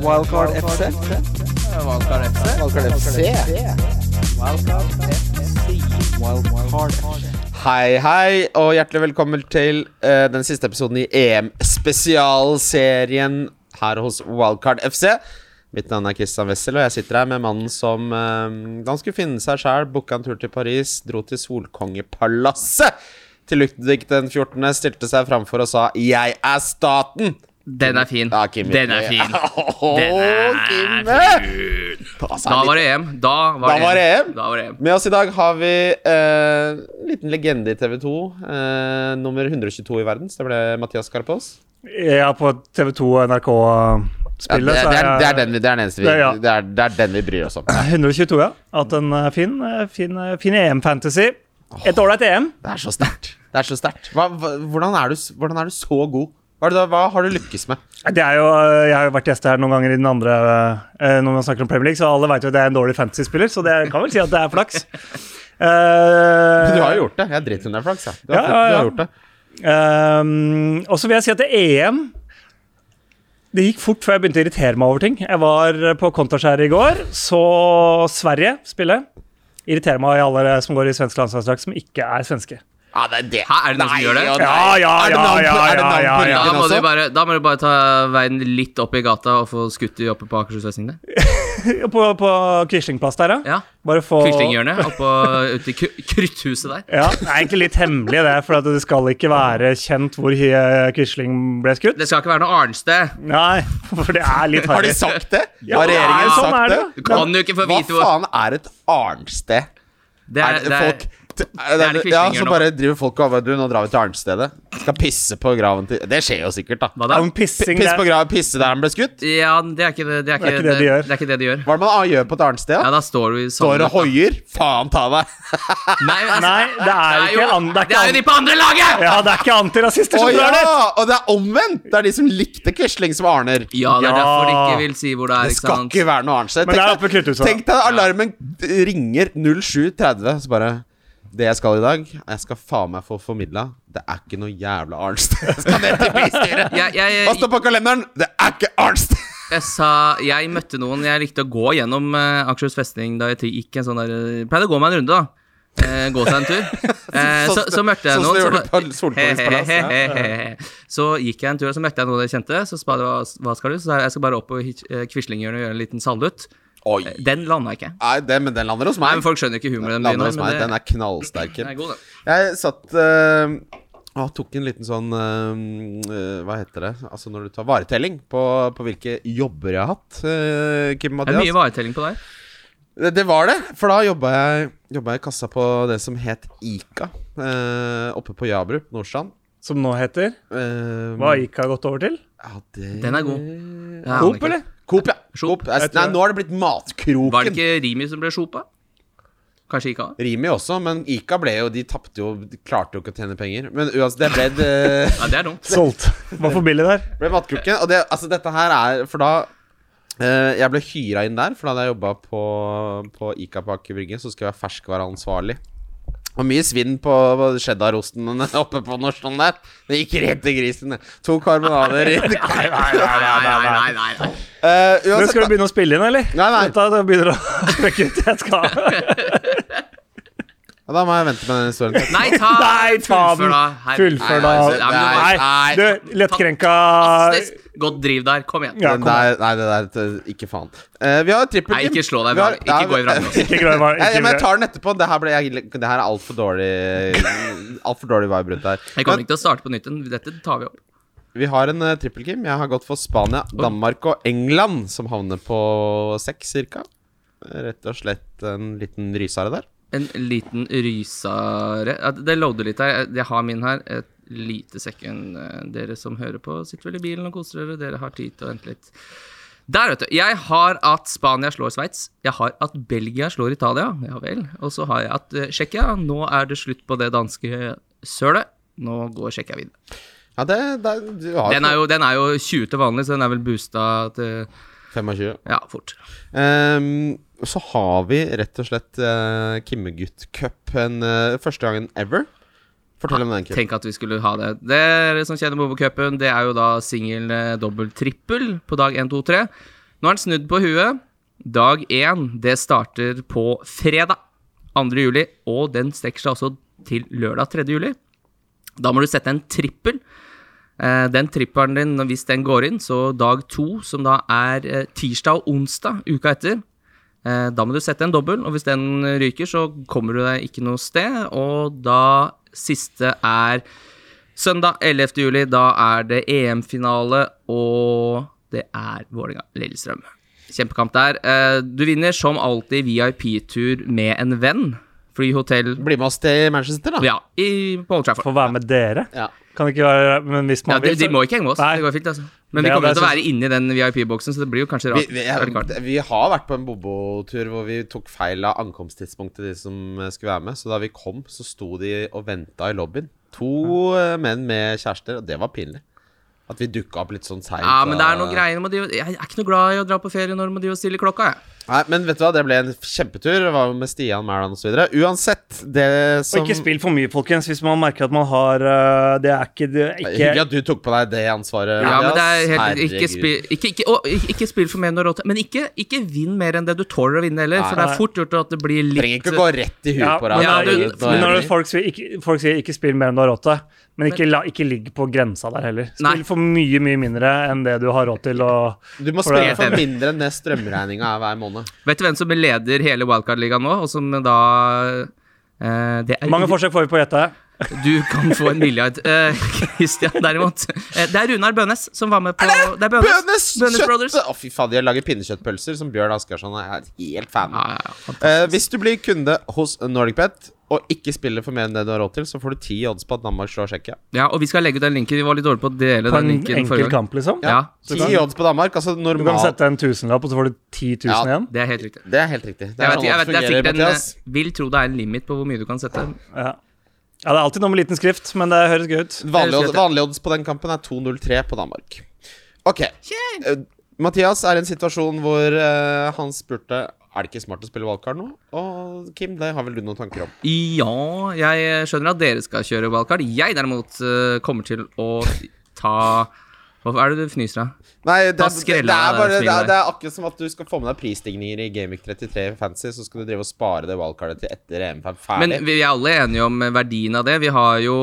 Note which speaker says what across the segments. Speaker 1: Wildcard FC.
Speaker 2: Valgkar FC.
Speaker 1: Wildcard FC. Wildcard FC.
Speaker 2: Hei, hei, og hjertelig velkommen til eh, den siste episoden i EM-spesialserien her hos Wildcard FC. Mitt navn er Christian Wessel, og jeg sitter her med mannen som eh, Han skulle finne seg sjæl, booka en tur til Paris, dro til Solkongepalasset til Ludvig den 14., stilte seg framfor og sa 'Jeg er staten'.
Speaker 3: Den er fin.
Speaker 2: Ja, Kim,
Speaker 3: Den er fin.
Speaker 2: Åh,
Speaker 3: Den er
Speaker 2: Kimme! Altså,
Speaker 3: Da
Speaker 2: litt-
Speaker 3: var det EM. Da var
Speaker 2: Da
Speaker 3: det
Speaker 2: var det EM.
Speaker 3: Da var det EM.
Speaker 2: Med oss i dag har vi eh, en liten legende i TV 2. Eh, nummer 122 i verden, så det ble Mathias Karpås.
Speaker 4: Ja, E på TV 2 og
Speaker 2: Ja,
Speaker 4: eh,
Speaker 2: det,
Speaker 4: NRK-spillet,
Speaker 2: er- det, er, det, er den, vi- det er den eneste vi
Speaker 4: Det er- ja.
Speaker 2: det, er, det er den vi bryr oss om. Det
Speaker 4: 122, ja. Hatt en eh, fin, eh, fin, eh, fin EM-fantasy. Et ålreit E EM.
Speaker 2: er så sterkt. Det er så sterkt. Hva, hva- hvordan, er du s- hvordan er du så god? Hva, er det, da- hva har du lykkes med?
Speaker 4: Det er jo, eh, jeg har jo vært gjest her noen ganger i den andre eh, når man snakker om Premier League, så alle vet jo at jeg er en dårlig fantasy-spiller, så det jeg kan vel si at det er flaks. Eh,
Speaker 2: Du har
Speaker 4: Uh,
Speaker 2: jo gjort det. Jeg driter i om det er flaks. jeg. Du har,
Speaker 4: Ja, ja,
Speaker 2: du
Speaker 4: ja.
Speaker 2: har gjort det.
Speaker 4: Um, og så vil jeg si at det EM Det gikk fort før jeg begynte å irritere meg over ting. Jeg var på Kontaskjæret i går, så Sverige spille. Irriterer meg i alle som går i svensk landslagsdrakt, som ikke er svenske.
Speaker 2: Ja, det er det.
Speaker 3: Hæ, er det noen som
Speaker 2: Nei,
Speaker 3: gjør det?
Speaker 2: og nei.
Speaker 4: Ja, ja,
Speaker 2: Er det navn på-
Speaker 4: ja, ja,
Speaker 2: er det navn
Speaker 4: ja,
Speaker 2: på
Speaker 4: ja,
Speaker 3: Da
Speaker 4: ja.
Speaker 2: ryggen
Speaker 3: må,
Speaker 2: også?
Speaker 3: du bare, da må du bare ta veien litt opp i gata og få skutt de oppe på Akershus festning der.
Speaker 4: På, på Quislingplass der, ja.
Speaker 3: Ja.
Speaker 4: Bare få
Speaker 3: Quislinghjørnet oppå ute i kry- krytthuset der.
Speaker 4: Ja, det er egentlig litt hemmelig, det. For at det skal ikke være kjent hvor hi- Quisling ble skutt.
Speaker 3: Det skal ikke være noe Arnsted.
Speaker 4: Nei, for det er litt
Speaker 2: Har de
Speaker 4: harry.
Speaker 2: sagt det?
Speaker 4: Ja,
Speaker 2: har regjeringen
Speaker 4: nei, sånn er
Speaker 2: sagt det?
Speaker 4: det.
Speaker 3: Du kan jo ikke få
Speaker 2: Hva
Speaker 3: vite hvor
Speaker 2: faen er et arnsted?
Speaker 3: Det
Speaker 2: Er
Speaker 3: er,
Speaker 2: det
Speaker 3: det er,
Speaker 2: folk det er,
Speaker 3: det
Speaker 2: Ja,
Speaker 3: Quislinger
Speaker 2: så
Speaker 3: nå.
Speaker 2: bare driver folk og bare, Du, nå drar vi til Arnstedet. Skal pisse på graven til Det skjer jo sikkert, da.
Speaker 3: Hva da?
Speaker 4: Om pissing
Speaker 2: Pisse
Speaker 4: der.
Speaker 2: på graven, pisse der han ble skutt?
Speaker 3: Ja, det er ikke det, det, er ikke,
Speaker 4: det de gjør.
Speaker 3: Det er ikke det de gjør.
Speaker 2: Hva er det man gjør på et arnsted?
Speaker 3: Ja,
Speaker 2: da?
Speaker 3: da står du i
Speaker 2: Står og
Speaker 3: da.
Speaker 2: hoier? Faen ta deg!
Speaker 3: Nei, altså,
Speaker 4: Nei, det er
Speaker 3: det er
Speaker 4: ikke
Speaker 3: jo-
Speaker 4: an-
Speaker 3: det
Speaker 4: Det er
Speaker 3: er jo
Speaker 4: ikke,
Speaker 3: de på andre laget!
Speaker 4: an- ja, det er ikke antirasister
Speaker 2: Å
Speaker 4: som drar
Speaker 2: ja!
Speaker 4: dit!
Speaker 2: Og det er omvendt! Det er de som likte Quisling som Arner.
Speaker 3: Ja, det er
Speaker 4: Ja.
Speaker 3: derfor de ikke vil si hvor det er.
Speaker 2: Det
Speaker 3: ikke
Speaker 2: skal
Speaker 3: sant?
Speaker 2: ikke være noe Arnsted.
Speaker 4: Men det er
Speaker 2: Tenk
Speaker 4: oppe ved
Speaker 2: deg-
Speaker 4: Klutthuset, da.
Speaker 2: Tenk deg alarmen ringer 07.30, så bare det jeg skal i dag, jeg skal faen meg få formidla. Det er ikke noe jævla Arnsted. Jeg skal ned til bystyret.
Speaker 3: Jeg, jeg,
Speaker 2: Hva står på kalenderen? Det er ikke Arnsted!
Speaker 3: Jeg sa, jeg møtte noen Jeg likte å gå gjennom eh, Akershus festning da jeg gikk en sånn der jeg Pleide å gå meg en runde, da. Eh, gå seg en tur. Eh, så, så møtte jeg
Speaker 2: Sånn som du
Speaker 3: noen så,
Speaker 2: gjorde på Solkongens palass, ja.
Speaker 3: Hehehehe. så gikk jeg en tur, og så møtte jeg noen jeg kjente. Så spurte jeg hva- hva skal du? Så sa jeg jeg skal bare opp på Hitch- eh, Quislinghjørnet og gjøre en liten salutt.
Speaker 2: Oi.
Speaker 3: Den landa ikke.
Speaker 2: Nei, det, men Eh, den lander hos
Speaker 3: Nei,
Speaker 2: meg.
Speaker 3: men Folk skjønner ikke humoren i den byen.
Speaker 2: lander
Speaker 3: her,
Speaker 2: hos meg.
Speaker 3: Men
Speaker 2: Den
Speaker 3: det,
Speaker 2: er knallsterk.
Speaker 3: den er god, den.
Speaker 2: Jeg satt eh, og tok en liten sånn eh, eh, Hva heter det? Altså når du tar varetelling på, på hvilke jobber jeg har hatt. eh, Kim
Speaker 3: Det er mye
Speaker 2: Mathias.
Speaker 3: varetelling på deg.
Speaker 2: Det, det var det. For da jobba jeg, jobba jeg i kassa på det som het Ica. eh, oppe på Jabru, Nordstrand.
Speaker 4: Som nå heter
Speaker 2: Eh,
Speaker 4: Hva gikk har gått over til?
Speaker 2: ja, det...
Speaker 3: Den er god. Jeg aner
Speaker 4: Coop,
Speaker 3: ikke.
Speaker 4: eller?
Speaker 2: Eh, Coop, ja.
Speaker 3: Coop.
Speaker 2: Coop. Jeg- Nei, nå har det blitt Matkroken.
Speaker 3: Var det ikke Rimi som ble sjopa? Kanskje ikke han?
Speaker 2: Rimi også, men Ica ble jo De tapte jo De klarte jo ikke å tjene penger. Men uansett, det ble det
Speaker 3: Ja, det er dumt.
Speaker 4: Solgt. Var for billig der.
Speaker 2: ble matkroken. Og det, altså, dette her er For da eh, Jeg ble hyra inn der, for da hadde jeg jobba på, på Ica på Aker Brygge, så skulle jeg være ferskvareansvarlig. Og mye svinn på cheddarosten oppe på Nordstrand der. Det gikk rett til grisen. To karbonader i
Speaker 4: Nei, nei, nei,
Speaker 3: nei, nei, nei, nei.
Speaker 2: Eh,
Speaker 4: Men
Speaker 2: Uansett,
Speaker 4: skal du
Speaker 2: da.
Speaker 4: begynne å spille inn, eller?
Speaker 2: Nei, nei.
Speaker 4: Vent Da, da begynner det å sprekke ut. Jeg skal
Speaker 2: Ja, da må jeg vente med den historien.
Speaker 3: Nei, ta,
Speaker 4: Nei, ta den.
Speaker 3: fullfør da. Her-
Speaker 4: Fullfør
Speaker 3: Nei,
Speaker 4: da.
Speaker 3: altså, ja, men du
Speaker 2: Nei,
Speaker 3: var
Speaker 4: Nei,
Speaker 2: nei.
Speaker 4: du, lettkrenka
Speaker 3: fantastisk. Godt driv der. Kom igjen.
Speaker 4: Ja,
Speaker 2: Den
Speaker 4: kom
Speaker 2: der,
Speaker 4: igjen.
Speaker 2: nei, det der t- Ikke faen. Eh, vi har trippel
Speaker 3: Nei, ikke slå deg i
Speaker 2: Vi har-
Speaker 3: vrangen. Ikke gå i vrangen.
Speaker 2: vi-
Speaker 4: Ikke glem å-
Speaker 2: Nei,
Speaker 4: ikke
Speaker 2: men jeg
Speaker 4: glem-
Speaker 2: tar den etterpå. Det her, ble, jeg, det her er altfor dårlig Altfor dårlig vibe rundt her.
Speaker 3: Jeg kommer ikke til å starte på nytt. igjen. Dette tar vi opp.
Speaker 2: Vi har en uh, trippelkim. Jeg har gått for Spania, Danmark og England, som havner på seks, cirka. Rett og slett en liten rysare der.
Speaker 3: En liten rysare Ja, Det loader litt her. Jeg- Jeg har min her. Et lite sekund. Eh, Dere som hører på, sitter vel i bilen og koser dere. Dere har tid til å vente litt. Der, vet du. Jeg har at Spania slår Sveits. Jeg har at Belgia slår Italia. Ja vel. Og så har jeg at eh, Tsjekkia. Nå er det slutt på det danske sølet. Nå går Tsjekkia videre.
Speaker 2: Ja, det, det du har
Speaker 3: Den er, jo, den er jo 20 til vanlig, så den er vel boosta til
Speaker 2: 25.
Speaker 3: Ja, fort.
Speaker 2: Ehm, så har vi rett og slett uh, Kimmegutt Cup en, eh, første gangen ever. Fortell om den, Kim.
Speaker 3: Tenk at vi skulle ha det. Dere som kjenner Bobokupen, det er jo da singel, eh, dobbel, trippel på dag 1, 2, 3. Nå er den snudd på huet. Dag én, det starter på fredag 2. juli, og den strekker seg også til lørdag 3. juli. Da må du sette en trippel. Eh, Den trippelen din, hvis den går inn, så dag to, som da er eh, tirsdag og onsdag uka etter, eh, da må du sette en dobbel, og hvis den ryker, så kommer du deg ikke noe sted. Og da siste er søndag 11. juli, da er det EM-finale, og det er Vålerenga-Lillestrøm. Kjempekamp der. Eh, Du vinner som alltid VIP-tur med en venn. Fly, hotell
Speaker 2: Bli med oss til Manchester, da.
Speaker 3: Ja, i, på Old Trafford.
Speaker 4: Få være med dere.
Speaker 2: Ja.
Speaker 4: Kan ikke være Men hvis man
Speaker 3: Ja, de,
Speaker 4: vil,
Speaker 3: de må ikke henge med oss.
Speaker 4: Nei.
Speaker 3: Det går fint, altså. Men vi
Speaker 4: Ja,
Speaker 3: kommer
Speaker 4: det
Speaker 3: til å
Speaker 4: er
Speaker 3: være inni den VIP-boksen, så det blir jo kanskje
Speaker 2: Vi,
Speaker 3: rart.
Speaker 2: vi,
Speaker 3: Veldig klart.
Speaker 2: vi har vært på en bobotur hvor vi tok feil av ankomsttidspunktet til de som eh, skulle være med. Så da vi kom, så sto de og venta i lobbyen. To eh, menn med kjærester, og det var pinlig. At vi dukka opp litt sånn seint.
Speaker 3: Ja, men det er noe
Speaker 2: eh,
Speaker 3: greier med de, Jeg er ikke noe glad i å dra på ferie når man driver og stiller klokka, jeg.
Speaker 2: Nei, men vet du hva, det ble en kjempetur. Det var med Stian, Mæland osv. Uansett, det som
Speaker 4: Og ikke spill for mye, folkens, hvis man merker at man har øh, Det er ikke, det er
Speaker 2: Det er
Speaker 4: ikke
Speaker 2: Hyggelig at du tok på deg det ansvaret.
Speaker 3: Ja, men det er helt,
Speaker 2: Andreas.
Speaker 3: ikke, spill, ikke, ikke, å, ikke- ikke spill for mer enn du har råd til. Men ikke, ikke vinn mer enn det du tåler å vinne heller, for det
Speaker 4: Nei.
Speaker 3: er fort gjort at det blir
Speaker 2: Herregud. Trenger
Speaker 3: litt
Speaker 2: ikke gå rett i huet
Speaker 4: Ja,
Speaker 2: på
Speaker 4: men
Speaker 2: deg.
Speaker 3: Ja,
Speaker 4: det er-
Speaker 3: du-
Speaker 4: men når
Speaker 2: Herregud.
Speaker 4: det- folk, sier ikke, folk sier 'ikke spill mer enn du har råd til', men ikke, la, ikke ligg på grensa der heller. Spill
Speaker 3: Nei.
Speaker 4: for mye, mye mindre enn det du har råd til. Og
Speaker 2: du må
Speaker 4: for det-
Speaker 2: spille for mindre enn det strømregninga er hver måned.
Speaker 3: Vet du hvem som leder hele Wildcard-ligaen nå, og som da eh, det er
Speaker 4: mange forsøk får vi på å gjette.
Speaker 3: Du kan få en milliard. Eh, Christian, derimot. Eh, det er Runar Bønes som var med på Det er Bønes,
Speaker 2: Bønes!
Speaker 3: Bønes
Speaker 2: Kjøtt!
Speaker 3: Brothers.
Speaker 2: Å, fy faen, de lager pinnekjøttpølser som Bjørn Askersson er helt fan
Speaker 3: Ja,
Speaker 2: av.
Speaker 3: ja, ja.
Speaker 2: Eh, hvis du blir kunde hos NordicBet og ikke spiller for mer enn det du har råd til, så får du ti odds på at Danmark slår Tsjekkia.
Speaker 3: Ja, og vi skal legge ut den linken. Vi var litt dårlige på å dele
Speaker 4: På
Speaker 3: den
Speaker 4: en
Speaker 3: linken forrige
Speaker 4: enkel
Speaker 3: gang.
Speaker 4: kamp, liksom.
Speaker 3: Ja,
Speaker 2: Ti
Speaker 4: kan-
Speaker 2: odds på Danmark, altså
Speaker 4: Du kan
Speaker 2: normalt.
Speaker 4: sette en tusenlapp, og så får du 10 000
Speaker 2: Ja.
Speaker 4: igjen.
Speaker 3: det er helt riktig.
Speaker 2: Det er helt riktig. Det
Speaker 3: Jeg,
Speaker 2: er
Speaker 3: vet, jeg,
Speaker 2: sånn
Speaker 3: vet,
Speaker 2: det
Speaker 3: det er
Speaker 2: fungerer,
Speaker 3: sikkert en,
Speaker 2: Mathias.
Speaker 3: eh, vil tro det er en limit på hvor mye du kan sette.
Speaker 4: Ja. ja, det er alltid noe med liten skrift, men det høres gøy ut.
Speaker 2: Vanlig,
Speaker 3: Jeg
Speaker 2: odds-
Speaker 3: husker
Speaker 2: vanlig odds på den kampen er 2-0-3 på Danmark. Ok. Eh, Mathias er i en situasjon hvor eh, han spurte Er det ikke smart å spille valgkart nå. Og Kim, det har vel du noen tanker om?
Speaker 3: Ja, jeg skjønner at dere skal kjøre wildcard. Jeg derimot eh, kommer til å ta Hvorfor er det du fnyser av?
Speaker 2: Nei, det,
Speaker 3: Da
Speaker 2: er- det,
Speaker 3: skreller
Speaker 2: det, er
Speaker 3: jeg
Speaker 2: bare, det,
Speaker 3: smilet.
Speaker 2: er, det er akkurat som at du skal få med deg prisstigninger i Gamic 33 Fancy, så skal du drive og spare det wildcardet til etter EM5
Speaker 3: Men
Speaker 2: ferdig.
Speaker 3: vi er alle enige om verdien av det. Vi har jo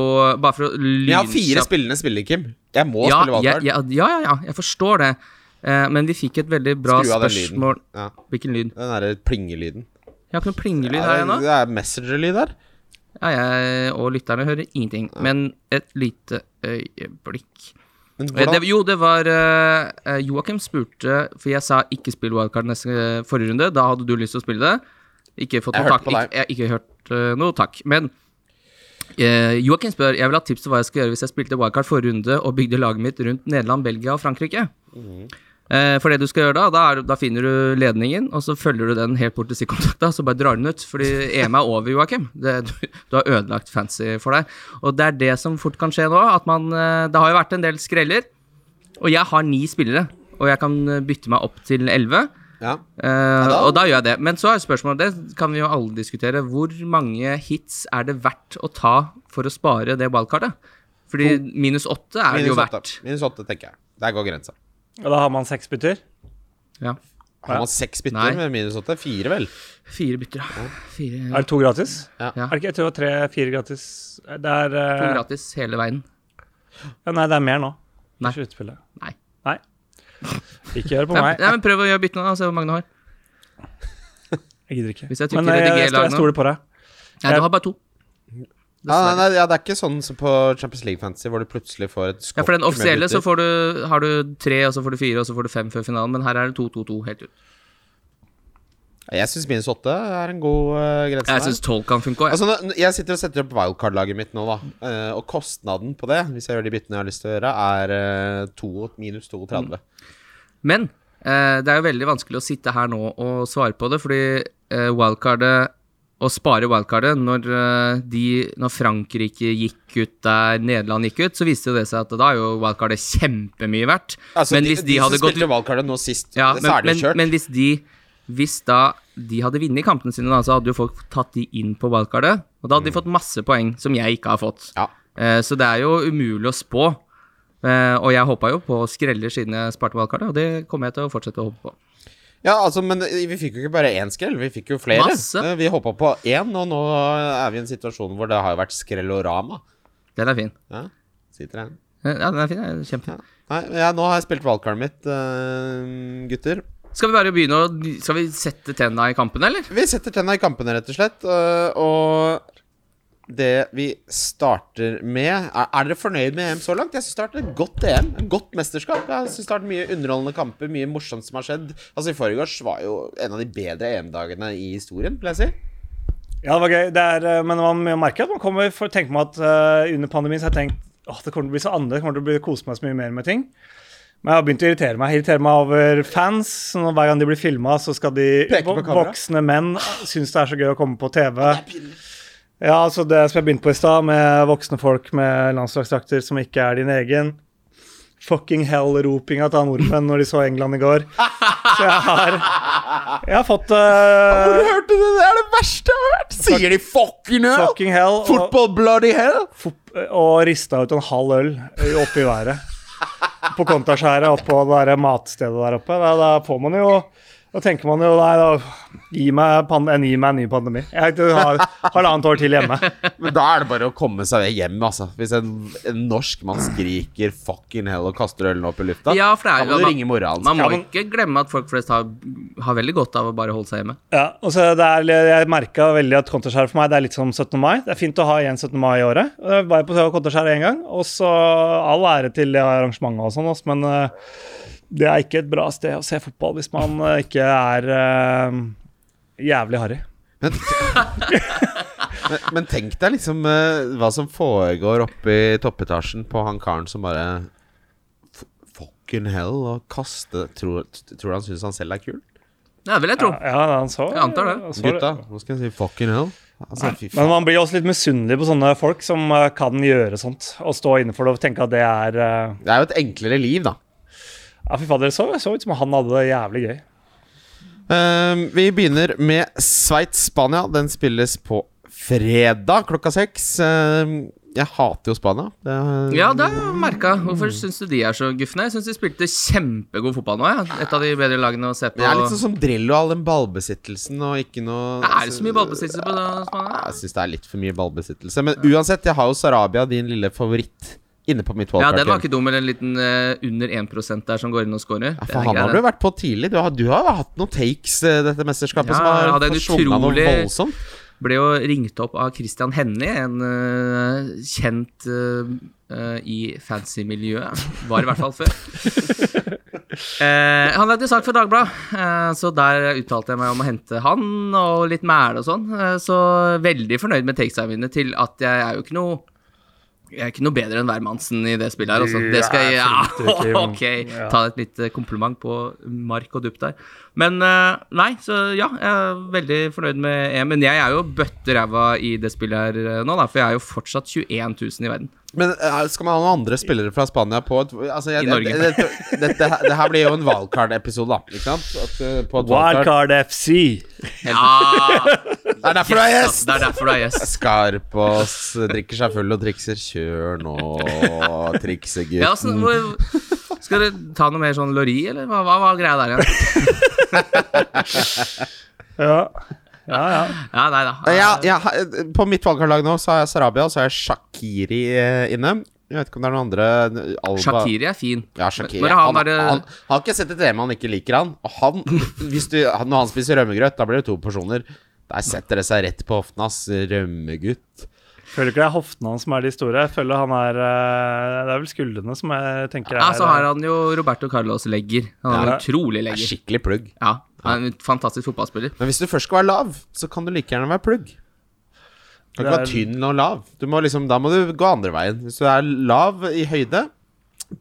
Speaker 3: Bare for å
Speaker 2: Vi har fire
Speaker 3: lynkjapt-
Speaker 2: spillende spillere, Kim. Jeg må
Speaker 3: ja,
Speaker 2: spille
Speaker 3: ja,
Speaker 2: wildcard.
Speaker 3: ja, ja, ja, jeg forstår det. Eh, men vi fikk et veldig bra
Speaker 2: Skru av den lyden.
Speaker 3: spørsmål
Speaker 2: Ja,
Speaker 3: Hvilken lyd?
Speaker 2: den derre plingelyden.
Speaker 3: Jeg har ikke noe plingelyd
Speaker 2: Ja,
Speaker 3: her
Speaker 2: det,
Speaker 3: ennå.
Speaker 2: det er messenger-lyd der.
Speaker 3: Ja, jeg og lytterne hører ingenting. Men et lite øyeblikk.
Speaker 2: Men
Speaker 3: Eh, Det,
Speaker 2: hvordan
Speaker 3: jo, det var eh, eh, Joakim spurte, for jeg sa ikke spill wildcard neste eh, forrige runde. Da hadde du lyst til å spille det. Ikke fått
Speaker 2: Jeg
Speaker 3: noe
Speaker 2: hørte
Speaker 3: takk.
Speaker 2: på deg.
Speaker 3: Ikke, jeg har ikke hørt eh, noe takk. Men eh, Joakim spør jeg vil ha tips til hva jeg skal gjøre hvis jeg spilte wildcard forrige runde og bygde laget mitt rundt Nederland, Belgia og Frankrike.
Speaker 2: Mhm.
Speaker 3: Eh, for det du skal gjøre da, da, er, da finner du ledningen, og så følger du den helt bort til stikkontakta, så bare drar den ut. Fordi EM er over, Joakim. Det, du, du har ødelagt fancy for deg. Og det er det som fort kan skje nå. At man, eh, det har jo vært en del skreller. Og jeg har ni spillere, og jeg kan eh, bytte meg opp til elleve.
Speaker 2: Ja.
Speaker 3: eh, og da gjør jeg det. Men så er spørsmålet, det kan vi jo alle diskutere, hvor mange hits er det verdt å ta for å spare det ballkartet? Fordi minus åtte er det
Speaker 2: Minus
Speaker 3: jo
Speaker 2: åtte.
Speaker 3: verdt.
Speaker 2: Minus åtte, tenker jeg. Der går grensa.
Speaker 4: Og da har man seks bytter.
Speaker 3: Ja.
Speaker 2: Har man seks bytter
Speaker 3: Nei.
Speaker 2: med minus åtte? Fire, vel?
Speaker 3: Fire bytter, ja. Fire,
Speaker 4: Er det to gratis?
Speaker 3: Ja.
Speaker 4: Er det ikke jeg tror det er tre-fire gratis? Det er
Speaker 3: To
Speaker 4: eh,
Speaker 3: gratis hele veien.
Speaker 4: ja, Nei, det er mer nå.
Speaker 3: Nei.
Speaker 4: Ikke utspillet.
Speaker 3: Nei.
Speaker 4: Nei. Ikke hør på
Speaker 3: Nei,
Speaker 4: meg.
Speaker 3: nei, men Prøv å gjøre byttene, da. Se hvor mange du har.
Speaker 4: Jeg gidder ikke.
Speaker 3: Hvis jeg trykker
Speaker 4: Men jeg,
Speaker 3: rediger
Speaker 4: jeg, jeg,
Speaker 3: lag nå.
Speaker 4: stoler på deg.
Speaker 3: Nei, du har bare to.
Speaker 2: Ja, nei, nei, ja, det er ikke sånn som på Champions League Fantasy, hvor du plutselig får et skokk
Speaker 3: Ja, For den
Speaker 2: med
Speaker 3: offisielle så
Speaker 2: bytter.
Speaker 3: får du, har du tre, og så får du fire, og så får du fem før finalen. Men her er det to, to, to helt ut.
Speaker 2: Jeg syns minus åtte er en god eh, grense.
Speaker 3: Jeg
Speaker 2: der.
Speaker 3: syns tolv kan funke òg.
Speaker 2: Altså, nå- nå- jeg sitter og setter opp wildcard-laget mitt nå, da. Eh, og kostnaden på det, hvis jeg gjør de byttene jeg har lyst til å gjøre, er eh, to, minus 32.
Speaker 3: Men eh, det er jo veldig vanskelig å sitte her nå og svare på det, fordi eh, wildcardet å spare wildcardet når, eh, de, når Frankrike gikk ut der Nederland gikk ut, så viste jo det seg at da er jo wildcardet kjempemye verdt.
Speaker 2: Altså,
Speaker 3: men hvis de, hadde
Speaker 2: som
Speaker 3: gått
Speaker 2: spilte wildcardet nå sist,
Speaker 3: Ja,
Speaker 2: så
Speaker 3: men,
Speaker 2: er det
Speaker 3: men,
Speaker 2: kjørt.
Speaker 3: men hvis de Hvis da de hadde vunnet kampene sine, da, så hadde jo folk tatt de inn på wildcardet.
Speaker 2: Mm.
Speaker 3: Og da hadde de fått masse poeng som jeg ikke har fått.
Speaker 2: Ja.
Speaker 3: Eh, så det er jo umulig å spå. Eh, og jeg håpa jo på skreller siden jeg sparte valgkartet, og det kommer jeg til å fortsette å håpe på.
Speaker 2: Ja, altså, men vi fikk jo ikke bare én skrell, vi fikk jo flere.
Speaker 3: Masse.
Speaker 2: Eh, Vi hoppa på én, og nå er vi i en situasjon hvor det har jo vært skrellorama.
Speaker 3: Den er fin.
Speaker 2: Ja, sitter her.
Speaker 3: Eh, Ja, den er fin. ja, Kjempe.
Speaker 2: Ja. Nei, ja, nå har jeg spilt valgkartet mitt, eh, gutter.
Speaker 3: Skal vi bare begynne å Skal vi sette tenna i kampen, eller?
Speaker 2: Vi setter tenna i kampene, rett og slett. eh, Og det vi starter med Er, er dere fornøyd med EM så langt? Jeg syns det har vært et godt EM. Et godt mesterskap. Jeg synes det har vært Mye underholdende kamper, mye morsomt som har skjedd. Altså I forgårs var jo en av de bedre EM-dagene i historien, vil jeg si.
Speaker 4: Ja, det var gøy. Det er, eh, men man merker at man kommer for tenker man at eh, under pandemien så har jeg tenkt åh, det kommer til å bli så annerledes, jeg kommer til å bli, kose meg så mye mer med ting. Men jeg har begynt å irritere meg. Jeg irriterer meg over fans. Så nå, hver gang de blir filma, så skal de
Speaker 2: Peke på
Speaker 4: vok-
Speaker 2: kamera.
Speaker 4: voksne menn synes det er så gøy å komme på TV. Ja, altså det som jeg begynte på i stad, med voksne folk med landslagsdrakter som ikke er din egen. Fucking hell-ropinga til han nordmenn når de så England i går. Så jeg har, jeg har fått eh,
Speaker 2: hørte det? Det er det verste jeg har hørt! Sier de fucking hell?
Speaker 4: fucking hell. og-
Speaker 2: bloody hell?
Speaker 4: fop- og rista ut en halv øl oppe i været. På Kontaskjæret og på det der matstedet der oppe. Da, da får man jo Da tenker man jo Nei, da gi meg, pan- en- gi meg en ny pandemi. Jeg har halvannet år til hjemme.
Speaker 2: Men da er det bare å komme seg hjem, altså. Hvis en, en norsk mann skriker fucking hell og kaster ølen opp i lufta,
Speaker 3: Ja, for det er
Speaker 2: da må du
Speaker 3: man-
Speaker 2: ringe mora hans.
Speaker 3: Man må
Speaker 4: Ja, men-
Speaker 3: ikke glemme at folk flest har, har veldig godt av å bare holde seg hjemme.
Speaker 4: Ja, og så det er, Jeg merka veldig at Kontaskjæret for meg det er litt som 17. mai. Det er fint å ha igjen 17. mai i året. Jeg var jo på Kontaskjæret én gang, og så all ære til det arrangementet og sånn, ass, men eh, det er ikke et bra sted å se fotball hvis man eh, ikke er eh, jævlig harry.
Speaker 2: Men, men, men tenk deg liksom eh, hva som foregår oppe i toppetasjen på han karen som bare f- Fucking hell og kaste Tror, tror du han syns han selv er kul?
Speaker 3: Det vil jeg tro.
Speaker 4: Ja, ja, han så
Speaker 3: Jeg antar det.
Speaker 4: han så
Speaker 2: Gutta, nå skal jeg si fucking hell. Altså, fy
Speaker 4: Men
Speaker 2: faen.
Speaker 4: man blir også litt misunnelig på sånne folk som eh, kan gjøre sånt. Og stå innenfor det og tenke at det er eh,
Speaker 2: Det er jo et enklere liv, da.
Speaker 4: Ja, fy fader, det så, så ut som han hadde det jævlig gøy.
Speaker 2: Ehm, vi begynner med Sveits-Spania. Den spilles på fredag klokka seks. Ehm, jeg hater jo Spania. Det,
Speaker 3: Ja, det har jeg merka. Hvorfor syns du de er så gufne? Jeg syns de spilte kjempegod fotball nå. Ja. Et av de bedre lagene å se på.
Speaker 2: Men jeg er litt sånn som Drillo, all den ballbesittelsen og ikke noe
Speaker 3: Er det så mye ballbesittelse på
Speaker 2: Ja,
Speaker 3: Spania?
Speaker 2: Jeg syns det er litt for mye ballbesittelse. Men uansett, jeg har jo Sarabia, din lille favoritt, inne på mitt
Speaker 3: Ja,
Speaker 2: wildcard.
Speaker 3: den var ikke dum, eller en liten eh, under 1 der som går inn og scorer.
Speaker 2: Ja,
Speaker 3: Den
Speaker 2: for
Speaker 3: er
Speaker 2: han
Speaker 3: grei,
Speaker 2: har du
Speaker 3: den.
Speaker 2: vært på tidlig. Du har, du har hatt noen takes eh, dette mesterskapet
Speaker 3: Ja,
Speaker 2: som
Speaker 3: jeg
Speaker 2: har
Speaker 3: hadde en
Speaker 2: forsvunnet noe
Speaker 3: utrolig-
Speaker 2: voldsomt.
Speaker 3: Ble jo ringt opp av Christian Hennie, en eh, kjent eh, eh, i fancy-miljøet. Var i hvert fall før. Eh, han lagde sak for Dagbladet, eh, så der uttalte jeg meg om å hente han og litt mæle og sånn. Eh, så veldig fornøyd med takesene mine til at jeg er jo ikke noe jeg er ikke noe bedre enn hvermannsen i det spillet her. Altså.
Speaker 4: Du
Speaker 3: Det skal jeg,
Speaker 4: er flink, du,
Speaker 3: ja,
Speaker 4: Kim.
Speaker 3: ok,
Speaker 4: Ja.
Speaker 3: ta et lite kompliment på Mark og Dupp der. Men eh, nei, så ja, jeg er veldig fornøyd med EM. Men jeg er jo bøtte ræva i det spillet her eh, nå, da, for jeg er jo fortsatt 21 000 i verden.
Speaker 2: Men eh, skal man ha noen andre spillere fra Spania på et, altså, jeg,
Speaker 3: I Norge.
Speaker 2: Det, det, det, dette her- det her blir jo en wildcard-episode, da. Ikke sant? At, eh, på et wildcard.
Speaker 4: Wildcard FC.
Speaker 3: Ja,
Speaker 2: Det er derfor du er
Speaker 3: yes, da,
Speaker 2: gjest!
Speaker 3: altså, det er derfor du er gjest.
Speaker 2: Skarpås drikker seg full og trikser. Kjør nå, triksegutten.
Speaker 3: Ja, så, hvor, skal dere ta noe mer sånn lori, eller hva, hva var greia der igjen?
Speaker 4: Ja. ja, ja.
Speaker 3: Ja, nei da. Eh,
Speaker 2: Nei, jeg- jeg har- på mitt valgkartlag nå så har jeg Sarabia, og så har jeg Shakiri eh, inne. Jeg vet ikke om det er noen andre eh, Alba.
Speaker 3: Shakiri er fin.
Speaker 2: Ja, Shakiri.
Speaker 3: Når
Speaker 2: Han, eh,
Speaker 3: han
Speaker 2: han,
Speaker 3: er-
Speaker 2: har ikke sett et EM han ikke liker, han. Og han, hvis du, han- når han spiser rømmegrøt, da blir det to porsjoner. Der setter det seg rett på hoften hans. Rømmegutt.
Speaker 4: Føler ikke det er hoftene hans som er de store. Jeg føler han er eh, Det er vel skuldrene som jeg tenker er eh,
Speaker 3: Ja, så har han jo Roberto Carlos legger. Han er
Speaker 4: Ja.
Speaker 3: en utrolig
Speaker 2: Det er
Speaker 3: legger.
Speaker 2: Skikkelig plugg.
Speaker 3: Ja, han er en fantastisk fotballspiller.
Speaker 2: Men hvis du først skal være lav, så kan du like gjerne være plugg. Du kan ikke være
Speaker 4: Det er-
Speaker 2: tynn og lav. Du må liksom, da må du gå andre veien. Hvis du er lav i høyde,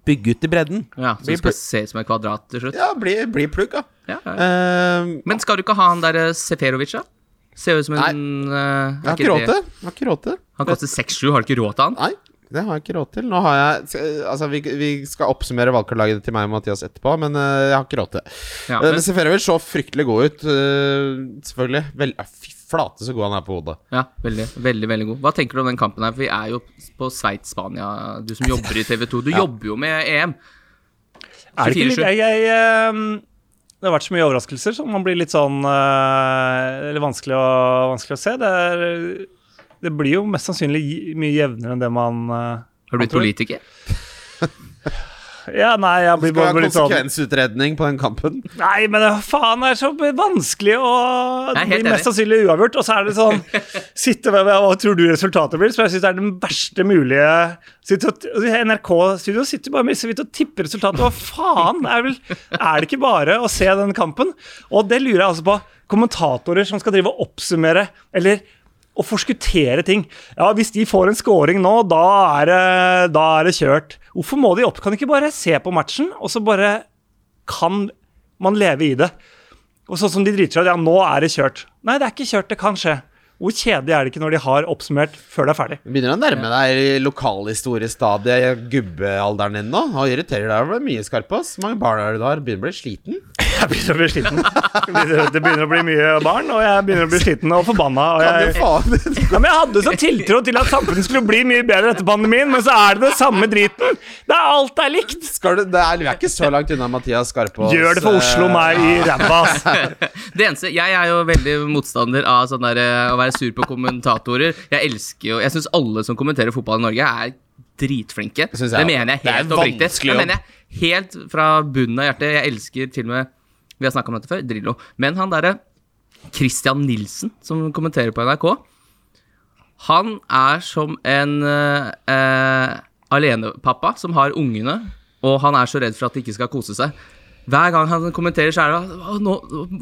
Speaker 2: bygg ut i bredden.
Speaker 3: Ja, så
Speaker 2: Blir
Speaker 3: det skal
Speaker 2: plugg.
Speaker 3: se ut som en kvadrat til slutt.
Speaker 2: Ja, bli, bli plugg, da.
Speaker 3: Ja, ja.
Speaker 2: Eh,
Speaker 3: Men skal du ikke ha han der eh, Seferovic, da? Ser ut som en
Speaker 2: Nei.
Speaker 3: eh,
Speaker 2: Jeg har
Speaker 3: er
Speaker 2: ikke råd
Speaker 3: det-
Speaker 2: til det. Jeg har ikke råd til det.
Speaker 3: Han koster 6-7, har du ikke råd til han?
Speaker 2: Nei. Det har jeg ikke råd til. Nå har jeg skal- Altså, vi, vi skal oppsummere valgkartlaget til meg og Mathias etterpå, men eh, jeg har ikke råd til det. Eh,
Speaker 3: Ja,
Speaker 2: men
Speaker 3: men-
Speaker 2: Seferovic så fryktelig god ut, eh, selvfølgelig. Vel, ja, fy flate så god han er på hodet.
Speaker 3: Ja, veldig, veldig veldig god. Hva tenker du om den kampen her? For vi er jo på Sveits-Spania, du som jobber i TV 2. Du jobber jo med E EM.
Speaker 4: Er det ikke
Speaker 3: 24-7?
Speaker 4: litt jeg, jeg, ehm, Det har vært så mye overraskelser, så man blir litt sånn eh, Eller vanskelig å, vanskelig å se. Det, er, det blir jo mest sannsynlig gi- mye jevnere enn det man eh,
Speaker 3: Har du blitt
Speaker 4: tror-
Speaker 3: politiker?
Speaker 4: Ja, nei, jeg
Speaker 2: Det
Speaker 4: blir
Speaker 2: skal
Speaker 4: bare
Speaker 2: være
Speaker 4: litt sånn
Speaker 2: konsekvensutredning på den kampen.
Speaker 4: Nei, men det- faen, det er så vanskelig å
Speaker 3: Jeg
Speaker 4: Det
Speaker 3: er helt
Speaker 4: blir mest
Speaker 3: enig.
Speaker 4: sannsynlig uavgjort. Og så er det sånn Sitte med med, Hva tror du resultatet blir? Så jeg syns det er den verste mulige sitte og- NRK-studio sitter bare med så vidt og tipper resultatet. Hva faen? Er, vel, er det ikke bare å se den kampen? Og det lurer jeg altså på. Kommentatorer som skal drive og oppsummere, eller å forskuttere ting. Ja, Hvis de får en scoring nå, da er det, da er det kjørt. Hvorfor må de opp? Kan de ikke bare se på matchen, og så bare kan man leve i det. Og sånn som de driter seg ut, ja, nå er det kjørt. Nei, det er ikke kjørt, det kan skje. Hvor kjedelig er det ikke når de har oppsummert før det er ferdig?
Speaker 2: Du begynner å nærme deg lokalhistoriestadiet i gubbealderen din nå. Og irriterer deg over mye skarpe. ass. Hvor mange barn er det du har? Begynner å bli sliten.
Speaker 4: Jeg begynner å bli sliten. Det begynner- Det begynner å bli mye barn, og jeg begynner å bli sliten og forbanna. Og
Speaker 2: Kan du
Speaker 4: jeg,
Speaker 2: faen
Speaker 4: ja, men jeg hadde så tiltro til at samfunnet skulle bli mye bedre etter pandemien, men så er det det samme driten. Det er alt er likt.
Speaker 2: Skal du, det er, Vi er ikke så langt unna Mathias Skarpaas.
Speaker 4: Gjør det for Oslo
Speaker 2: eh,
Speaker 4: meg i ræva, ass.
Speaker 3: Det eneste, Jeg er jo veldig motstander av sånn der, eh, å være sur på kommentatorer. Jeg elsker jo, jeg syns alle som kommenterer fotball i Norge, er dritflinke.
Speaker 2: synes
Speaker 3: det
Speaker 2: jeg også.
Speaker 3: mener jeg
Speaker 2: Det er
Speaker 3: helt
Speaker 2: en
Speaker 3: oppriktig.
Speaker 2: vanskelig
Speaker 3: Det
Speaker 2: jobb.
Speaker 3: mener jeg helt fra bunnen av hjertet. Jeg elsker til og med Vi har snakka om dette før, Drillo. Men han derre Christian Nilsen, som kommenterer på NRK, han er som en eh, eh, alenepappa som har ungene, og han er så redd for at de ikke skal kose seg. Hver gang han kommenterer, så er det «Å, nå,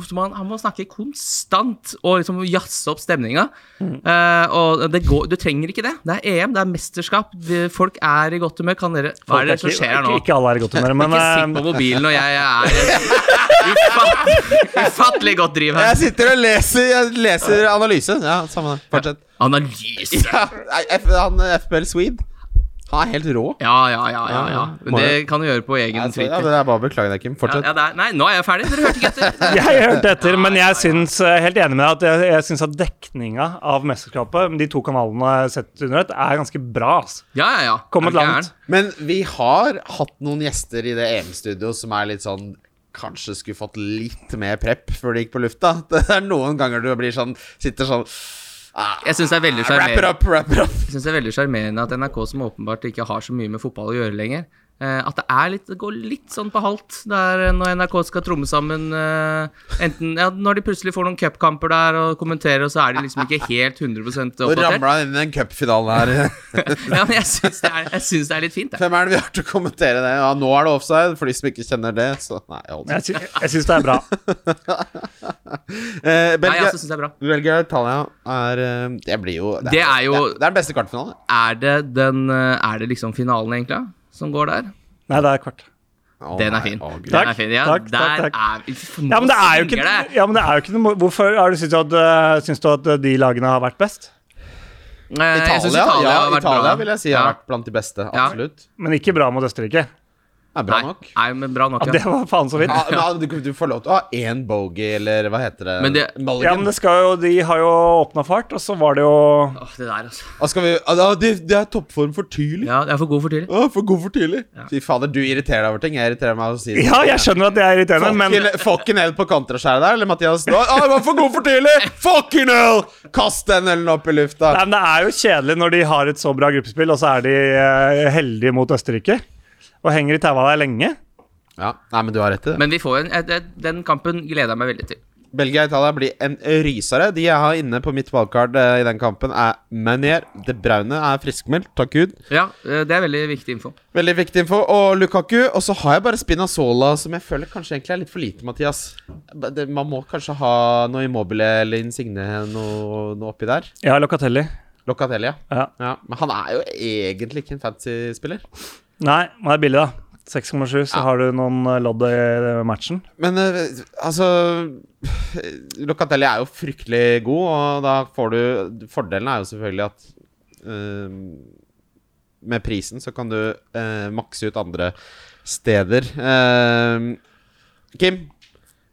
Speaker 3: så må han, han må snakke konstant og liksom jazze opp stemninga. Eh, og det går, du trenger ikke det. Det er EM, det er mesterskap. De, folk er i godt humør. Kan dere Hva er det som
Speaker 4: Ikke-
Speaker 3: skjer her nå?
Speaker 4: Ikke, ikke alle er i godt humør, men
Speaker 3: Ikke sitt
Speaker 4: eh,
Speaker 3: på mobilen når jeg er ufattelig, ufattelig godt driv her.
Speaker 2: Jeg sitter og leser, jeg leser analyse. Ja, samme det. Fortsett.
Speaker 3: Analyse.
Speaker 2: Ja, nei, F, han eh, FBL Swede, han er helt rå.
Speaker 3: Ja, ja, ja. ja, ja.
Speaker 2: Må
Speaker 3: Det kan du gjøre på
Speaker 2: Nei,
Speaker 3: egen
Speaker 2: så- ja,
Speaker 3: fritid.
Speaker 2: det er bare å beklage deg, Kim.
Speaker 3: Ja,
Speaker 2: Fortsett.
Speaker 3: ja, det er, nei, nå er jeg ferdig. Dere hørte ikke etter.
Speaker 4: Jeg hørte etter, men jeg syns jeg er helt enig med deg at jeg, jeg syns at dekninga av mesterskapet, de to kanalene sett under ett, er ganske bra. ass.
Speaker 3: Ja, ja, ja.
Speaker 4: Kommet
Speaker 3: Er du
Speaker 4: langt.
Speaker 3: gæren?
Speaker 2: Men vi har hatt noen gjester i det EM-studio som er litt sånn Kanskje skulle fått litt mer prep før det gikk på lufta. Det er noen ganger du blir sånn Sitter sånn ah,
Speaker 3: Jeg syns det er veldig
Speaker 2: Wrap it
Speaker 3: sjarmerende.
Speaker 2: up, wrap it up.
Speaker 3: Jeg synes det er veldig sjarmerende at NRK, som åpenbart ikke har så mye med fotball å gjøre lenger, eh, at det, er litt, det går litt sånn på halvt Det er når NRK skal tromme sammen eh, Enten ja, når de plutselig får noen cupkamper der og kommenterer, og så er de liksom ikke helt 100
Speaker 2: Nå
Speaker 3: oppdatert.
Speaker 2: ramla han inn i den cupfinalen her.
Speaker 3: Ja, men jeg syns det, er- jeg synes det er litt fint, jeg.
Speaker 2: Hvem er det vi har til å kommentere det? Ja, nå er det offside, for de som ikke kjenner det. Så nei, jeg holder.
Speaker 4: Jeg, sy jeg syns det er bra.
Speaker 2: Eh,
Speaker 3: Nei, altså, jeg
Speaker 2: Belgia,
Speaker 3: synes det er bra.
Speaker 2: Belgia og Italia er eh, Det blir jo Det er,
Speaker 3: Det er jo-
Speaker 2: det er, det er den beste kvartfinalen.
Speaker 3: Er det, den, eh, er det liksom finalen, egentlig, da, som går der?
Speaker 4: Nei, det er kvart.
Speaker 2: Å,
Speaker 3: Den er
Speaker 2: nei,
Speaker 3: fin.
Speaker 2: å, Gud.
Speaker 3: Den
Speaker 4: Takk,
Speaker 3: er fin. Ja,
Speaker 4: takk,
Speaker 3: der
Speaker 4: takk,
Speaker 3: er vi for nå
Speaker 4: Ja, men det er jo ikke,
Speaker 3: svinger det.
Speaker 4: ja, men det er jo ikke noe mo- Hvorfor har du syntes at, øh, syns du at øh, de lagene har vært best?
Speaker 3: Eh,
Speaker 2: Italia,
Speaker 3: jeg synes Italia,
Speaker 2: ja,
Speaker 3: har vært
Speaker 2: Italia
Speaker 3: bra.
Speaker 2: vil jeg si har vært blant de beste.
Speaker 3: Ja.
Speaker 2: Absolutt.
Speaker 4: Men ikke bra mot Østerrike.
Speaker 2: Det er bra
Speaker 3: nei,
Speaker 2: nok.
Speaker 3: Nei, men bra nok,
Speaker 4: Ja,
Speaker 3: ja.
Speaker 4: det var faen så vidt.
Speaker 2: Ja, men ah, du, du får lov til å ha én bogey, eller hva heter det?
Speaker 3: Men det-
Speaker 4: Ja,
Speaker 2: Mulligan.
Speaker 4: men det skal jo, De har jo åpna fart, og så var det jo
Speaker 3: Åh, det der, altså.
Speaker 2: Ah, skal vi, ah, det, det er toppform for tidlig.
Speaker 3: Ja, jeg er for god for tidlig.
Speaker 2: Ah, for god for tidlig.
Speaker 3: Ja.
Speaker 2: Fy fader, du irriterer deg over ting. Jeg irriterer meg av å si det.
Speaker 4: Ja, jeg skjønner at det er irriterende, men
Speaker 2: Fucking- Fucking hell på kontraskjæret der, eller Mathias? Ah, ah, det var for god for tidlig! Fucking hell! Kast den ølen opp i lufta.
Speaker 4: Nei, men Det er jo kjedelig når de har et så bra gruppespill, og så er de eh, heldige mot Østerrike. Og henger i taua der lenge.
Speaker 2: Ja, Nei, men du har rett i det.
Speaker 3: Men vi får en, et, et, den kampen gleder jeg meg veldig til.
Speaker 2: Belgia og Italia blir en rysere. De jeg har inne på mitt valgkart eh, i den kampen, er Manier. Det braune er friskmeldt, takk Gud.
Speaker 3: Ja, eh, det er veldig viktig info.
Speaker 2: Veldig viktig info. Og Lukaku. Og så har jeg bare Spinazzola, som jeg føler kanskje egentlig er litt for lite, Mathias. Det, man må kanskje ha noe Immobile eller Insigne noe, noe oppi der.
Speaker 4: Ja, Locatelli.
Speaker 2: Locatelli, ja.
Speaker 4: Ja.
Speaker 2: ja. Men han er jo egentlig ikke en fancy spiller.
Speaker 4: Nei, men det er billig, da. 6,7, så har du noen eh, lodd i eh, matchen.
Speaker 2: Men eh, altså Locatelli er jo fryktelig god, og da får du Fordelen er jo selvfølgelig at eh, med prisen, så kan du eh, makse ut andre steder. Eh, Kim,